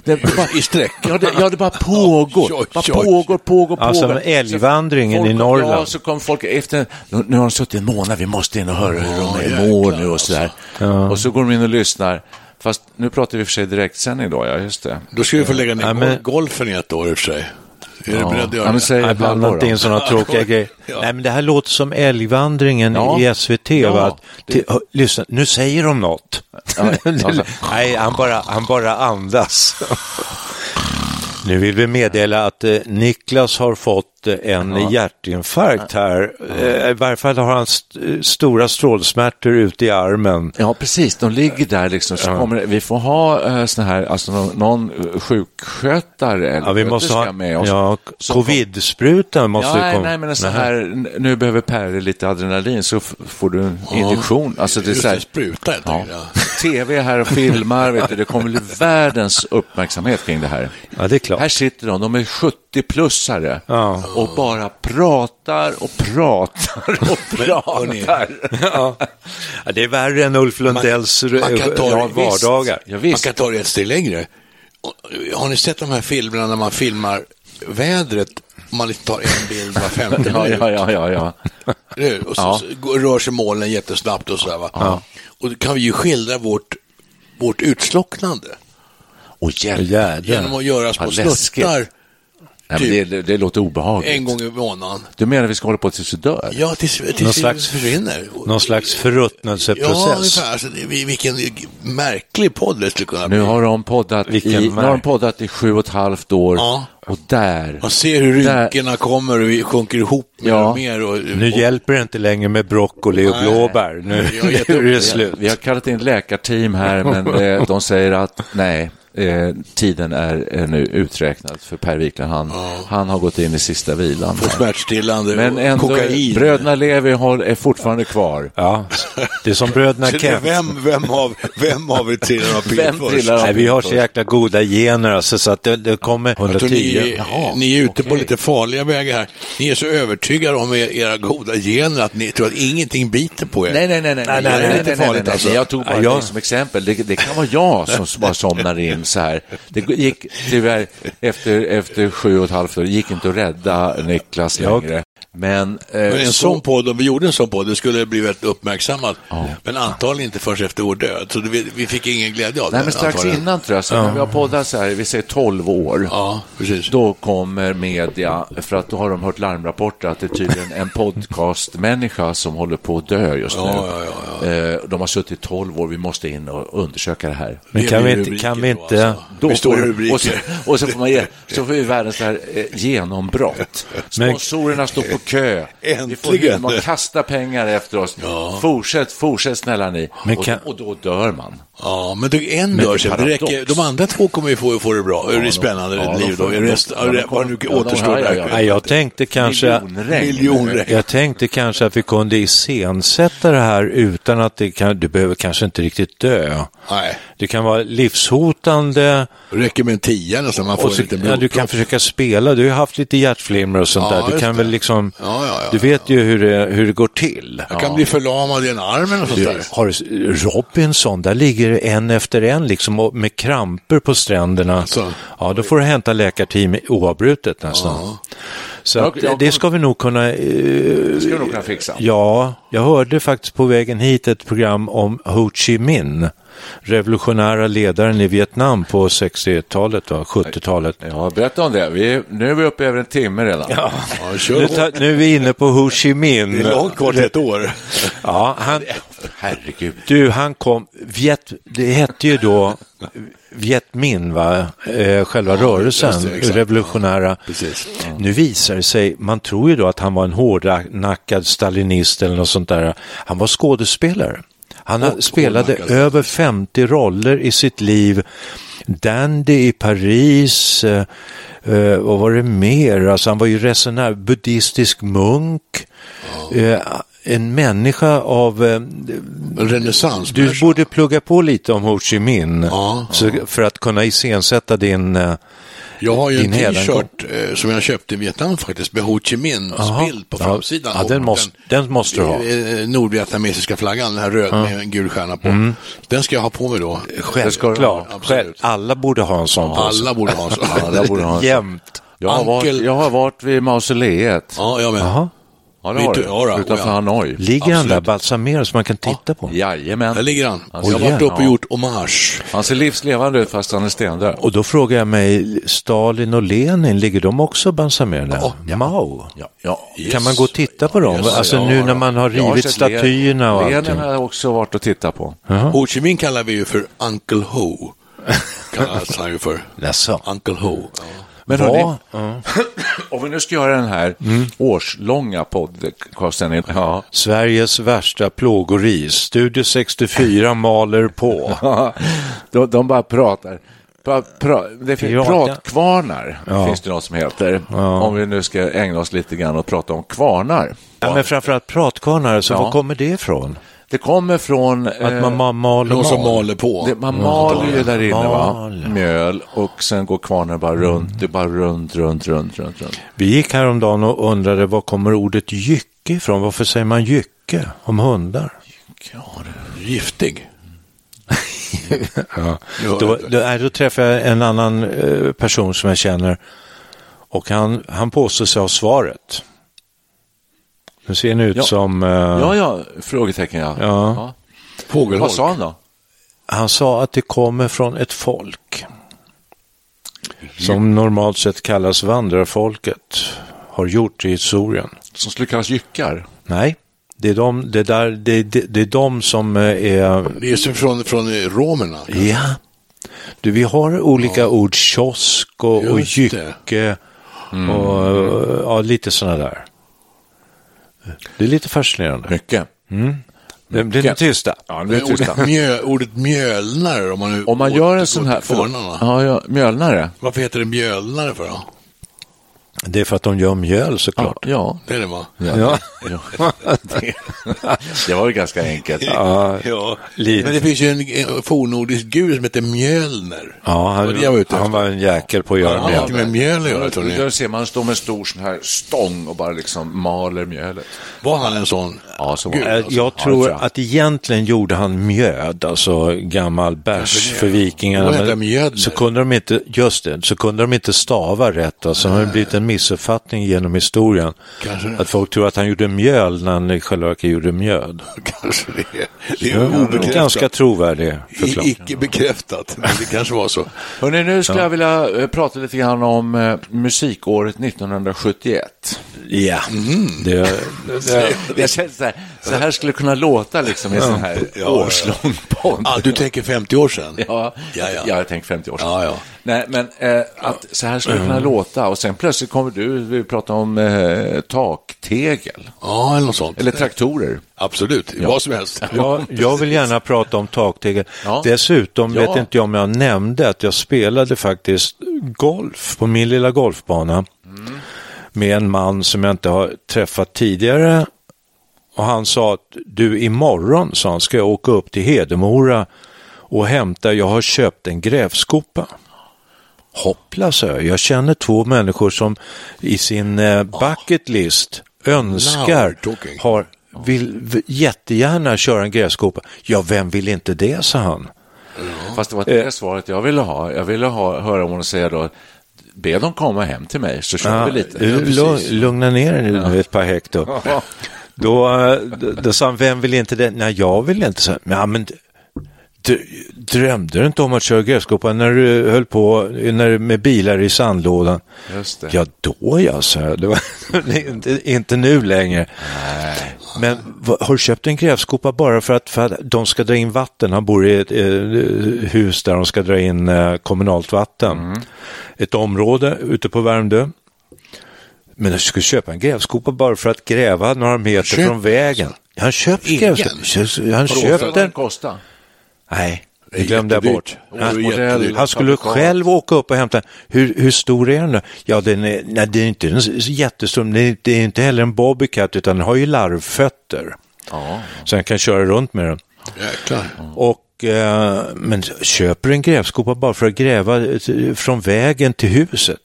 Det bara, I sträck. ja, det, ja, det bara pågår. <laughs> Oj, oj, Bara oj. pågår, pågår, Ja, som pågår. Alltså, älgvandringen Så folk- i Norrland. Ja, så kom folk efter. Nu, nu har de suttit en månad, vi måste in och höra hur de mår nu och sådär. alltså. Och så går de in och lyssnar. Fast nu pratar vi i och för sig direktsändning då, ja just det. Då ska vi få lägga ner Ja, men- golfen i ett år i och för sig. Är du beredd att Ja, göra men det? säg Nej, ett blanda halvår inte då. in sådana tråkiga grejer. Ja. Nej, men det här låter som Älgvandringen Ja. i SVT. Ja, Va? Att, det- till, hör, lyssna, nu säger de något. <laughs> alltså. Nej, han bara, han bara andas. Nu vill vi meddela att eh, Niklas har fått eh, en hjärtinfarkt här. Eh, I varje fall har han st- eh, stora strålsmärtor ute i armen. Ja, precis. De ligger där liksom. Så kommer, det- vi får ha uh, sån här, alltså någon, någon eh, sjukskötare eller Ja, vi måste sköterska ha, med oss. ja, Så- covid-sprutan måste ja, ju komma. nej, men en sån Nähä. här, n- nu behöver Per lite adrenalin så f- får du en injektion. Alltså det är Just så det, här, spruta helt ja, enkelt. ja. tv här och filmar, vet du, det kommer bli världens uppmärksamhet kring det här. Ja, det är klart. Här sitter de, de är 70-plussare Ja. och bara pratar och pratar <laughs> och <laughs> hörni, pratar. <laughs> ja. Ja, det är värre än Ulf Lundells man kan ta eh, det, visst. vardagar. Ja, Man visst. kan ta det ett steg längre. Och- Har ni sett de här filmerna när man filmar vädret? Man liksom tar en bild var femte <laughs> Ja, minut. ja, ja, ja, <laughs> ja. Eller hur? Och så, Ja. så går- rör sig molnen jättesnabbt och sådär. Va? Och då kan vi ju skildra vårt, vårt utslocknande Och hjälp. genom att göra små Vad läskigt. snuttar Nej, men det, det, det låter obehagligt. en gång i månaden. Du menar vi ska hålla på tills vi dör? Ja, tills, Någon tills vi slags- försvinner. Någon slags Ja, förruttnelseprocess. ungefär. Så det, vi- vilken märklig podd det skulle kunna bli. Nu har de poddat, i, Vilken nu har de märk- poddat i sju och ett halvt år Ja. och där Man ser hur Där- rynkorna kommer och vi sjunker ihop mer Ja. och mer. Och, nu hjälper det inte längre med broccoli och Nej. blåbär. Nu <laughs> Jag har gett nu är det Vi har, slut. vi har kallat in läkarteam här, <laughs> men eh, de säger att nej, eh, tiden är eh, nu uträknad för Per Wiklund. Han, han har gått in i sista vilan. och smärtstillande Men och ändå, kokain. bröderna Levi har, är fortfarande kvar. Ja. Det är som bröderna Så <laughs> det är Kent. vem, vem, av, vem av er <laughs> trillar av pinn Vem först? trillar av- Nej, vi har så jäkla goda gener alltså, så att det, det kommer Jag tror 110. ni, Jaha, ni är ute på okej. lite farliga vägar här. Ni är så övertygade om er, era goda gener att ni tror att ingenting biter på er. Nej, nej, nej, nej, nej, nej, nej, nej, lite nej, farligt nej, nej, alltså. nej, jag tog bara Ja, jag- dig som exempel. Det, det kan vara jag som s- bara somnar in så här. Det g- gick tyvärr efter, efter sju och ett halvt år, det gick inte att rädda Niklas Jag- längre. Men, eh, Men en så- sån podd, om vi gjorde en sån podd, det skulle bli väldigt uppmärksammat. Men antagligen inte förrän efter vår död. Så vi, vi fick ingen glädje av Nej, den. men strax antagligen. innan tror jag, så när vi har poddat så här, vi säger 12 år, Ja, precis. då kommer media, för att då har de hört larmrapporter att det är tydligen en podcastmänniska som håller på att dö just nu. Ja, ja, Eh, De har suttit 12 år, vi måste in och undersöka det här. Men Det kan vi blir inte, rubriker kan vi då, inte, alltså. Det står får- rubriker. och, så, och så får man ge, så får vi världens så här, eh, <laughs> genombrott. Men- Sponsorerna står på kö. Vi Äntligen. får, man kastar pengar efter oss. Fortsätt, fortsätt snälla ni. Men kan- och, och då dör man. Ja, men det, en Men dör det sig. Det paradox. räcker. De andra två kommer ju få, få det bra. det är spännande ja, de liv då. får- Rest, ja, de vad nu kommer- återstår ja, de- ja, där. ja, nej, jag tänkte kanske, Miljonregn. Miljonregn. jag tänkte kanske att vi kunde iscensätta det här utan att det kan, du behöver kanske inte riktigt dö. Nej, Det kan vara livshotande det räcker med en tia nästan. Man får och så, en liten ja, du kan blodpropp. försöka spela, du har ju haft lite hjärtflimmer och sånt Ja, där. Du just kan väl det. liksom, Ja, ja, ja, du vet ju hur det, hur det går till. Jag kan bli förlamad i en armen och sånt Du, där. Har du, Robinson, där ligger det en efter en liksom och med kramper på stränderna. Så. Ja, då får du hämta läkarteam oavbrutet nästan. Så Jag- att, jag det kom- ska vi nog kunna, eh, Det ska vi nog kunna fixa. ja, jag hörde faktiskt på vägen hit ett program om Ho Chi Minh, revolutionära ledaren i Vietnam på 60-talet, va, 70-talet. Ja, berätta om det. Vi, nu är vi uppe över en timme redan. Ja, Nu, kör på. ta, nu är vi inne på Ho Chi Det Minh. är långt kvar till ett år. Ja, han, Herregud. Du, han kom, Viet, det hette ju då Viet Minh, va? Eh, själva rörelsen, just det, exakt. revolutionära. Precis. Nu visar det sig, man tror ju då att han var en hårdnackad stalinist eller något sånt där. Han var skådespelare. Han har- spelade hårdnackad. över 50 roller i sitt liv. Dandy i Paris, eh, eh, vad var det mer? Alltså han var ju resenär, buddhistisk munk. Eh, en människa av eh, En renässans. du borde plugga på lite om Ho Chi Minh Ja, så, för att kunna iscensätta din... eh, Jag har ju en Din Hedenko. t-shirt eh, som jag köpte i Vietnam faktiskt med Ho Chi Minhs Aha. bild på Ja, framsidan. ja, Och den måste- den måste du ha. eh, Nordvietnamesiska flaggan, den här röd med en gul stjärna på. Mm. Den ska jag ha på mig då. Självklart. absolut. Själv, alla borde ha en sån på sig. Alla <laughs> borde ha en sån. Alla borde ha en sån. Jämt. Jag har, varit, Ankel- jag har varit vid mausoleet. Ja, jag med. Jaha. Ja, det Vet har du, du. ja, då, Utanför ja. Hanoi. Ligger han där Absolut. balsamerad så man kan titta på? Jajamän. Där ligger han. Han jag har ser- varit uppe och ja. gjort hommage. Han ser livslevande ut fast han är stendöd. Och då frågar jag mig, Stalin och Lenin, ligger de också balsamerade? Mao? Ja, ja. Kan man gå och titta på dem? Yes, alltså ja, nu när ja. man har Jag har rivit sett statyerna och Lenin allting. Hm. har jag också varit och tittat på. Ho Chi Minh kallar vi ju för Uncle <laughs> Ho. Kallas han ju för. Jaså? Uncle Ho. Ja. Men Va? hörni, om vi nu ska göra den här Mm. årslånga podcasten. Ja. Sveriges värsta plågori. Studio 64 maler på. de, de bara pratar. Pra, pra, det finns Pirata. pratkvarnar, finns det något som heter. Om vi nu ska ägna oss lite grann och prata om kvarnar. <laughs> Ja, men framförallt pratkvarnar, så Ja. var kommer det ifrån? Eh, Det kommer från... eh, Att man ma- mal och Någon som mal. maler på. Det, man maler ju där inne, va? Mal. mjöl, och sen går kvarnen bara runt. Det är bara runt, runt, runt, runt. runt. Vi gick häromdagen och undrade var kommer ordet jycke ifrån? Varför säger man jycke om hundar? Giftig. Då, då, nej, då träffade jag en annan eh, person som jag känner och han, han påstår sig ha svaret. Nu ser ni ut Ja. som... eh, Ja, ja, frågetecken, ja. ja. Vad sa Fågelholk. han då? Han sa att det kommer från ett folk som normalt sett kallas vandrarfolket, har gjort i historien. Som skulle kallas jyckar? Nej, det är de, det där, det, det, det är de som eh, är... Det är ju som från, från eh, romerna. Ja. Du, vi har olika ord, kiosk och, och Just Mm. det. jycke och eh, ja, lite sådana där. Det är lite fascinerande. Mycket. Det blir ni tysta. Ja, nu är Men det tysta. Ordet, mjö, ordet mjölnare, om man <laughs> nu Om man gör en sån här... återgår Förlåt, till kvarnarna. ja, ja, mjölnare. Varför heter det mjölnare för då? Det är för att de gör mjöl såklart. Ja. Det är det va? Ja. Det, <laughs> det var ju ganska enkelt. Ja, lite. Men det finns ju en, en fornnordisk gud som heter Mjölner. Ja, Och han, det jag var ute han efter. var en jäkel på att göra Han har mjöl. mycket med mjöl att göra, tror Där ni. ser man stå med en stor sån här stång och bara liksom maler mjölet. Var han en sån? Ja, så var Gud, det. Eh, alltså. Jag Ja, tror det att egentligen gjorde han mjöd, alltså gammal bärs för Vad heter vikingarna. mjöd? så kunde de inte, just det, så kunde de inte stava rätt, alltså det har blivit en missuppfattning genom historien. Kanske det. Att folk tror att han gjorde mjöl när han i själva verket gjorde mjöd. <laughs> Kanske det är. Det Ja, är obekräftat. Ganska trovärdig I- förklaring. Icke bekräftat, men det kanske var så. Hörrni, nu skulle jag vilja eh, prata lite grann om eh, musikåret 1971. Ja, Mm. det, Jag känner så här, så här skulle det kunna låta liksom i en sån här ja. årslång podd. Ah, du tänker 50 år sedan? Ja, ja, ja. jag tänker 50 år sedan. Ja, Mm. ja. Nej, men eh, att så här skulle det kunna låta och sen plötsligt kommer du, vi pratar om eh, taktegel Ja, eller något sånt. eller traktorer. Absolut, vad som helst. Jag, jag vill gärna prata om taktegel. Ja. Dessutom Ja. vet inte jag om jag nämnde att jag spelade faktiskt golf på min lilla golfbana Mm. med en man som jag inte har träffat tidigare. Och han sa att du imorgon, sa han, ska jag åka upp till Hedemora och hämta, jag har köpt en grävskopa. Hoppla, sa jag. Jag känner två människor som i sin eh, bucket list önskar, Now we're talking. har, vill v- jättegärna köra en grävskopa. Ja, vem vill inte det, sa han. Fast det var Eh. inte det svaret jag ville ha. Jag ville ha, höra honom säga då, be dem komma hem till mig så kör vi lite. lu- lugna ner er nu ett par hekto. Då, eh, d- då sa han, vem vill inte det? Nej, jag vill inte. Så, här, ja, men d- d- drömde du inte om att köra grävskopa när du höll på när, du- med bilar i sandlådan? Just det. Ja, då ja, så här. Det var, <laughs> inte, inte nu längre. Men vad, har du köpt en grävskopa bara för att, för att de ska dra in vatten? Han bor i ett eh, hus där de ska dra in eh, kommunalt vatten. Ett område ute på Värmdö. Men jag skulle köpa en grävskopa bara för att gräva några meter Köp- från vägen. Han köpte Egen? grävskopa. Han Köp köpte den den. kosta. Nej, det glömde jag bort. jättedyrt. Och det är jättedyrt. Han skulle själv åka upp och hämta den. Hur, hur stor är den då? Ja, den är, nej, det är inte en s- jättestor, men det är- det är inte heller en bobbycat utan den har ju larvfötter. Så han kan köra runt med den. Jäklar. Och, eh, men köper du en grävskopa bara för att gräva eh, t- från vägen till huset?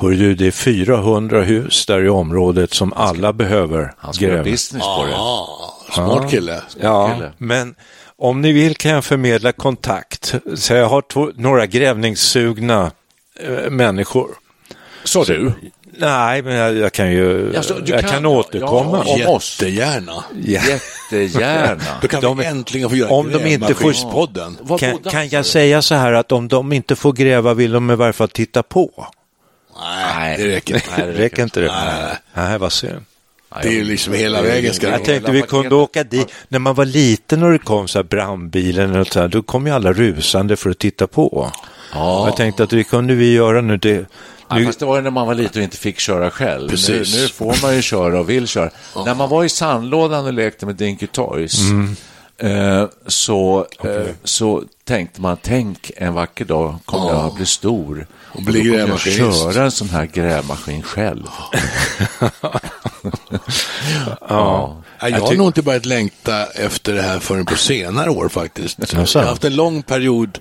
Hör du, det är 400 hus där i området som alla behöver Han ska göra gräva. business på det. Ah, smart kille. Ja, kille. men om ni vill kan jag förmedla kontakt. Så jag har två, några grävningssugna eh, människor. Sa du? Nej, men jag, jag kan ju Alltså, du jag kan- kan, återkomma. Ja, Om oss. Jättegärna. Ja. Jättegärna. Då kan De- vi äntligen få göra om de inte får- Grävmaskinspodden. Vad Kan, båda? kan jag säga så här att om de inte får gräva vill de i varje fall titta på? Nej, det räcker inte. Nej, det räcker inte det? Nej, vad synd. <laughs> Det är ju liksom hela vägen ska det Jag vara. tänkte vi kunde åka dit. När man var liten och det kom så här brandbilen och så här, då kom ju alla rusande för att titta på. Jag tänkte att det kunde vi göra nu. Det, Ja, nu fast det var ju när man var liten och inte fick köra själv. Nu, Precis. nu får man ju köra och vill köra. När man var i sandlådan och lekte med Dinky Toys eh, så, eh, så tänkte man, tänk en vacker dag kommer jag att bli stor och bli då kommer jag grävmaskinist." köra en sån här grävmaskin själv. Nej, Jag har nog inte börjat längta efter det här förrän på senare år faktiskt. Jag har haft en lång period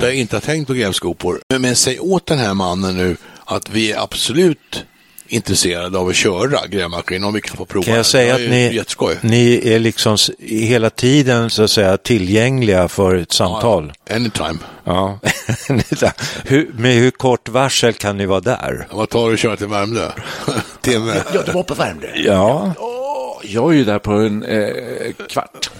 där jag inte har tänkt på grävskopor. Men, men säg åt den här mannen nu att vi är absolut intresserade av att köra grävmaskin om vi kan få prova. Kan jag den. säga det att är ju ni, Jätteskoj. ni är liksom s- hela tiden så att säga tillgängliga för ett samtal? Anytime. Ja. <laughs> hur, med hur kort varsel kan ni vara där? Vad tar du att köra till Värmdö? <laughs> Timme? Ja, var på Värmdö. Ja, Jag är ju där på en eh, kvart.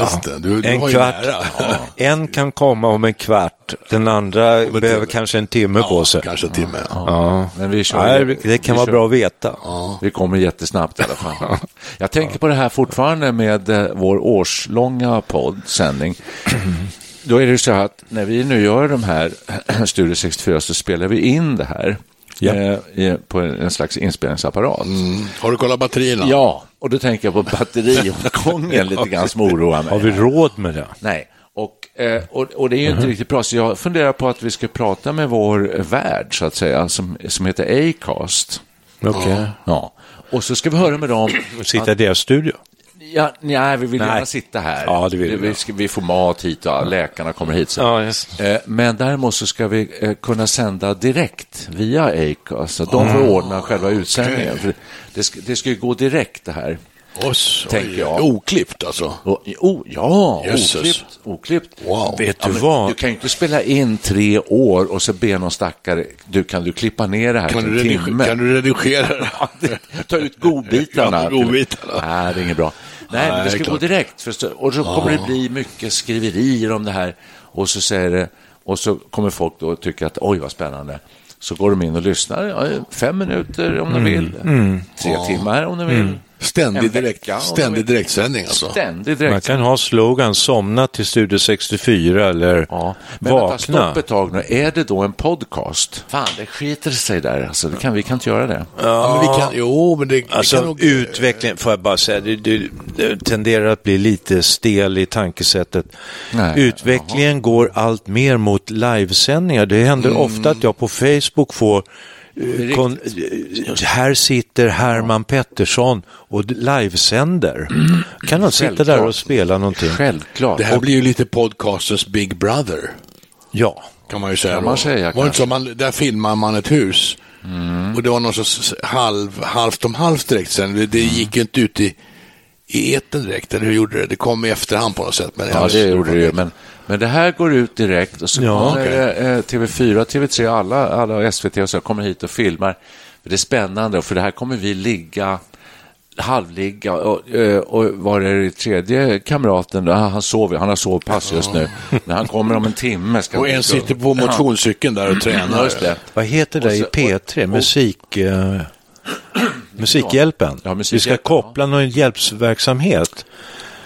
just det. Du, du en har ju kvart. nära. Ja. <laughs> En kan komma om en kvart, den andra behöver timme. kanske en timme på sig. <laughs> Kanske en timme. Ja. Men vi kör Nej, ju- det kan vi vara kör- bra att veta. Vi kommer jättesnabbt i alla fall. Jag tänker på det här fortfarande med eh, vår årslånga poddsändning. Då är det ju så här att när vi nu gör de här <clears throat> Studio 64 så spelar vi in det här Ja. Mm. eh, i- på en en slags inspelningsapparat. Har du kollat batterierna? Ja, och då tänker jag på <laughs> batteriåtgången lite grann som oroar mig. Har vi Mm-hmm. råd med det? Nej, och, eh, och, och det är ju inte riktigt bra, så jag funderar på att vi ska prata med vår värd, så att säga, som, som heter Acast. Okej. Ja. Och så ska vi höra med dem. Sitta i deras studio? Ja, nej, vi vill Nej. gärna sitta här. Ja, det vill vi. vi, ska, vi får mat hit och läkarna kommer hit. Så. just. Eh, Men däremot så ska vi eh, kunna sända direkt via Acast. så att De får ordna själva utsändningen. För det, ska, det ska ju gå direkt det här. Oss, Tänker jag. Oklippt alltså. Och, oh, ja, Jösses. oklippt. oklippt. Wow. Vet Ja, du men vad? Du kan ju inte spela in tre år och så be någon stackare, du kan du klippa ner det här Kan till du, en redig- timme? kan <laughs> du redigera det? Ta ut godbitarna. Ja, godbitarna. Nej, det är inget bra. Nej, Nej, men det ska klart. gå direkt. förstå- Och så kommer det bli mycket skriverier om det här. Och så säger det, och så kommer folk då tycka att oj, vad spännande. Så går de in och lyssnar, ja, fem minuter om Mm, de vill, tre timmar om de vill. En Ständig, vecka direkt, om de vill. ständig direktsändning Mm. alltså. Ständig Man direkt. kan ha slogan, somna till Studio 64 eller Ja, men vänta, vakna. stopp ett tag nu. Är det då en podcast? Fan, det skiter sig där. Alltså, det kan, vi kan inte göra det. Ja, men vi kan, jo, men det, det Alltså kan nog... eh, utvecklingen, får jag bara säga, det, det, det tenderar att bli lite stel i tankesättet. Nej, utvecklingen går allt mer mot livesändningar. Det händer Mm. ofta att jag på Facebook får eh, kon, eh, här sitter Herman Pettersson och d- livesänder. Kan han sitta där Mm. Självklart. och spela någonting? Självklart. Det här blir ju lite podcastens Big Brother. Ja. Kan man ju säga. Kan man då. säga, Mm. var det inte så, man, där filmar man ett hus. Och det var någon sorts halv, halvt om halvt direkt sen. Det, det Mm. gick ju inte ut i, i etern direkt. Eller hur gjorde det? Det kom i efterhand på något sätt. Men Ja, det gjorde det ju. Men, men det här går ut direkt och så Ja, kommer eh, TV4, TV3, alla, alla och SVT och så kommer hit och filmar. För Det är spännande, för det här kommer vi ligga halvligga och, eh, och var är det tredje kamraten då? Ah, Han sover, han har sovpass just nu. Men han kommer om en timme. Ska Och en sitter på motionscykeln där och Ja, tränar. just det. Vad heter det Och så- i P3? och- Musik... Eh, Musikhjälpen. Ja, Vi ska Musikhjälpen, ja. koppla någon hjälpsverksamhet.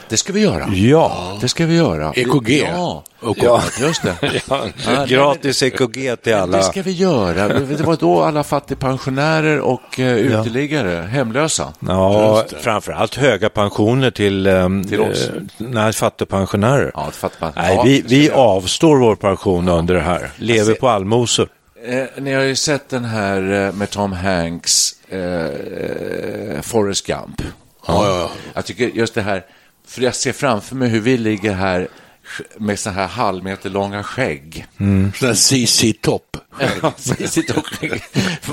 Det ska vi göra. Ja. Det ska vi göra. EKG. Ja, Och- ja. just det. Ja, nej, <laughs> Gratis EKG till Men Det alla. ska vi göra. Det var då alla fattigpensionärer och eh, uteliggare, hemlösa. Ja, framförallt höga pensioner till, um, Till oss. nej, fattigpensionärer. Ja, till fattigpensionärer. nej, Ja, vi, det ska vi vi göra. Alltså- avstår vår pension under det här. Lever ser- på allmosor. Eh, ni har ju sett den här eh, med Tom Hanks, eh, eh, Forrest Gump. Ja, ja, ja. Jag tycker just det här, för jag ser framför mig hur vi ligger här med så här halvmeter långa skägg. <laughs> Sån där CC Topp. Sitter och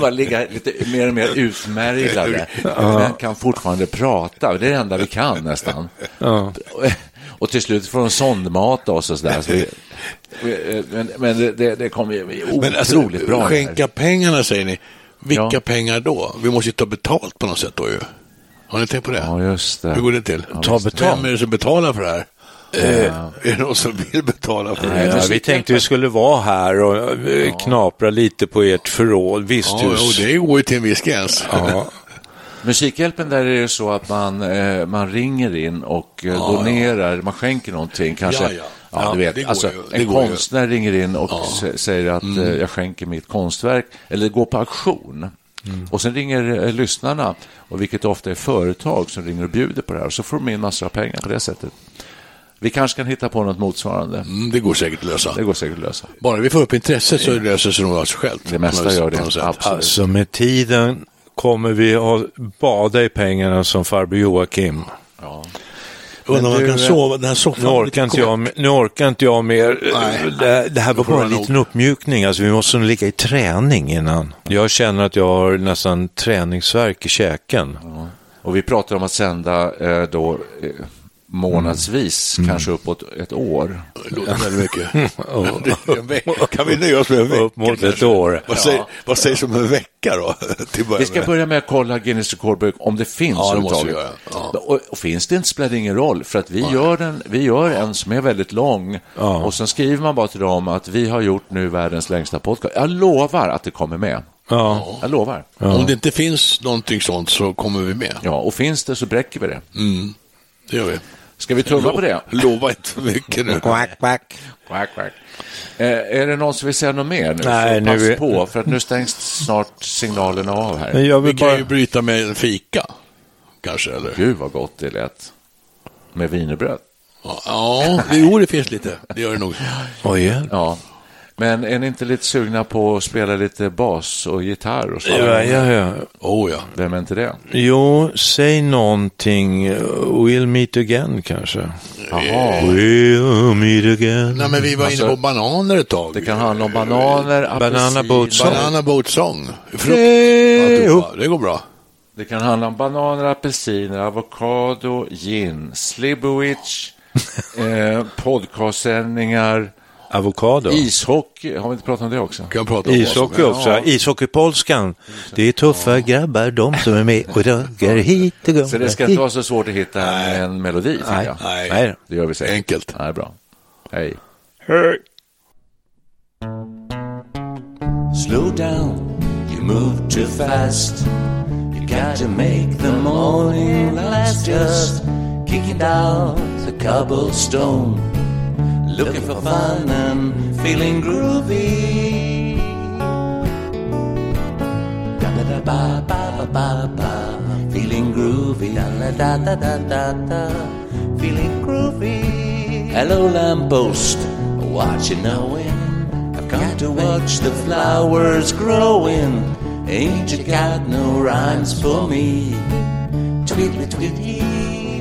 bara ligga lite mer och mer utmärglade. Men kan fortfarande prata. Det är det enda vi kan nästan. <laughs> Och till slut får de sondmata oss och sådär. Så vi, eh, men men det- det, det kommer ju bli otroligt Men alltså, bra. här. skänka pengarna säger ni. Vilka Ja. pengar då? Vi måste ju ta betalt på något sätt då ju. Har ni tänkt på det? Ja, just det. Hur går det till? Ta visst. betalt. Vem är det som betalar för det här? Eh, är det någon som vill betala för det här? Ja, alltså, vi tänkte vi skulle vara här och eh, knapra lite på ert förråd, Ja, jo, visthus. det går ju till en viss gräns. Ja, Musikhjälpen där är det ju så att man, eh, man ringer in och eh, donerar, man skänker någonting kanske. Ja, ja. Ja, du vet, det går alltså, ju, det en går ju. Mm. konstnär ringer in och sä- säger att eh, jag skänker mitt konstverk, eller går på auktion. Mm. Och sen ringer eh, lyssnarna, och vilket ofta är företag som ringer och bjuder på det här, och så får de in massor av pengar på det sättet. Vi kanske kan hitta på något motsvarande. <laughs> Mm, det går säkert att lösa. Det går säkert att lösa. Bara vi får upp intresset så löser sig nog av sig självt. Det mesta gör det, På något sätt. absolut. alltså med tiden kommer vi att bada i pengarna som farbror Joakim. Undrar om man du, kan eh, sova. Den här soffan Nu orkar inte jag, me- nu orkar inte jag mer. Nej. Det, det här var får bara jag en nog. liten uppmjukning. Alltså, vi måste nog ligga i träning innan. Jag känner att jag har nästan träningsvärk i käken. Och vi pratar om att sända eh, då eh, månadsvis, Mm. kanske uppåt ett år. Det låter väldigt <laughs> mycket. <laughs> Det är en vecka. kan vi nöja oss med en vecka? Upp mot ett kanske? år. Vad, säger, vad sägs om en vecka då? <laughs> Till att börja Vi ska med. börja med att kolla Guinness rekordbok om det finns. Ja, det måste överhuvudtaget. vi göra. Ja. Och, och finns det inte spelar det ingen roll, för att vi, gör, den, vi gör en som är väldigt lång och sen skriver man bara till dem att vi har gjort nu världens längsta podcast. Jag lovar att det kommer med. Ja. Jag lovar. Om det inte finns någonting sånt så kommer vi med. Ja, och finns det så bräcker vi det. Mm. Det gör vi. Ska vi tumma på det? Lova inte för mycket nu. Quack, quack. Eh, är det någon som vill säga något mer nu? Nej, så nu pass är- på, för att nu stängs snart signalerna av här. Men jag Vi vill kan bara... ju bryta med en fika. Kanske, eller? Gud vad gott det lät. Med wienerbröd. Ja, det- jo, det finns lite. Det gör det nog. Oj, ja. Ja. Men är ni inte lite sugna på att spela lite bas och gitarr och så? Ja, ja, ja. Oh, ja. Vem är inte det? Jo, säg någonting. We'll meet again kanske. Jaha. We'll meet again. Nej, men vi var inne på bananer ett tag. Det kan handla om bananer, apelsin, Banana boat song. Banana boat song. Frukt. Ja, det går bra. Det går bra. Det kan handla om bananer, apelsiner, avokado, gin, <laughs> Slibowicz, eh, podcastsändningar, Avokado. ishockey. Har vi inte pratat om det också? Kan jag prata om vad som Ishockey helst? också, Ja. ishockeypolskan. Det är tuffa grabbar de som är med och röker hit och Så det ska inte vara så svårt att hitta en melodi, tycker Nej. jag. Nej. Nej. Det gör vi säkert. Enkelt. Nej, bra. Hej. Slow down, you move too fast. You got to make the morning last. Just kicking down the cobblestone, looking for fun and feeling groovy. Da da da ba ba ba ba ba, feeling groovy. Da da da da da da da, feeling groovy. Hello lamppost, what you knowin'? I've come to watch the flowers growing. Ain't you got no rhymes for me? Tweetly tweetly,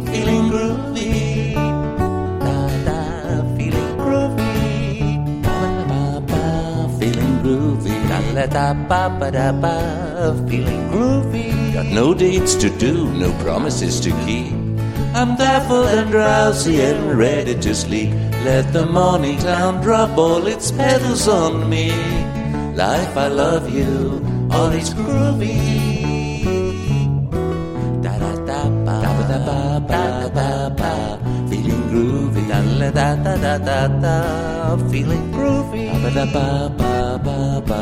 feeling groovy. Da da, feeling groovy. Da da ba ba, feeling groovy. Da da da ba ba da ba, feeling groovy. Got no dates to do, no promises to keep. I'm baffled and drowsy and ready to sleep. Let the morning town drop all its petals on me. Life, I love you, all it's groovy. Da da da ba da da ba ba da ba ba. Feeling groovy, da la da da da da da. Feeling groovy, da ba da ba ba ba ba.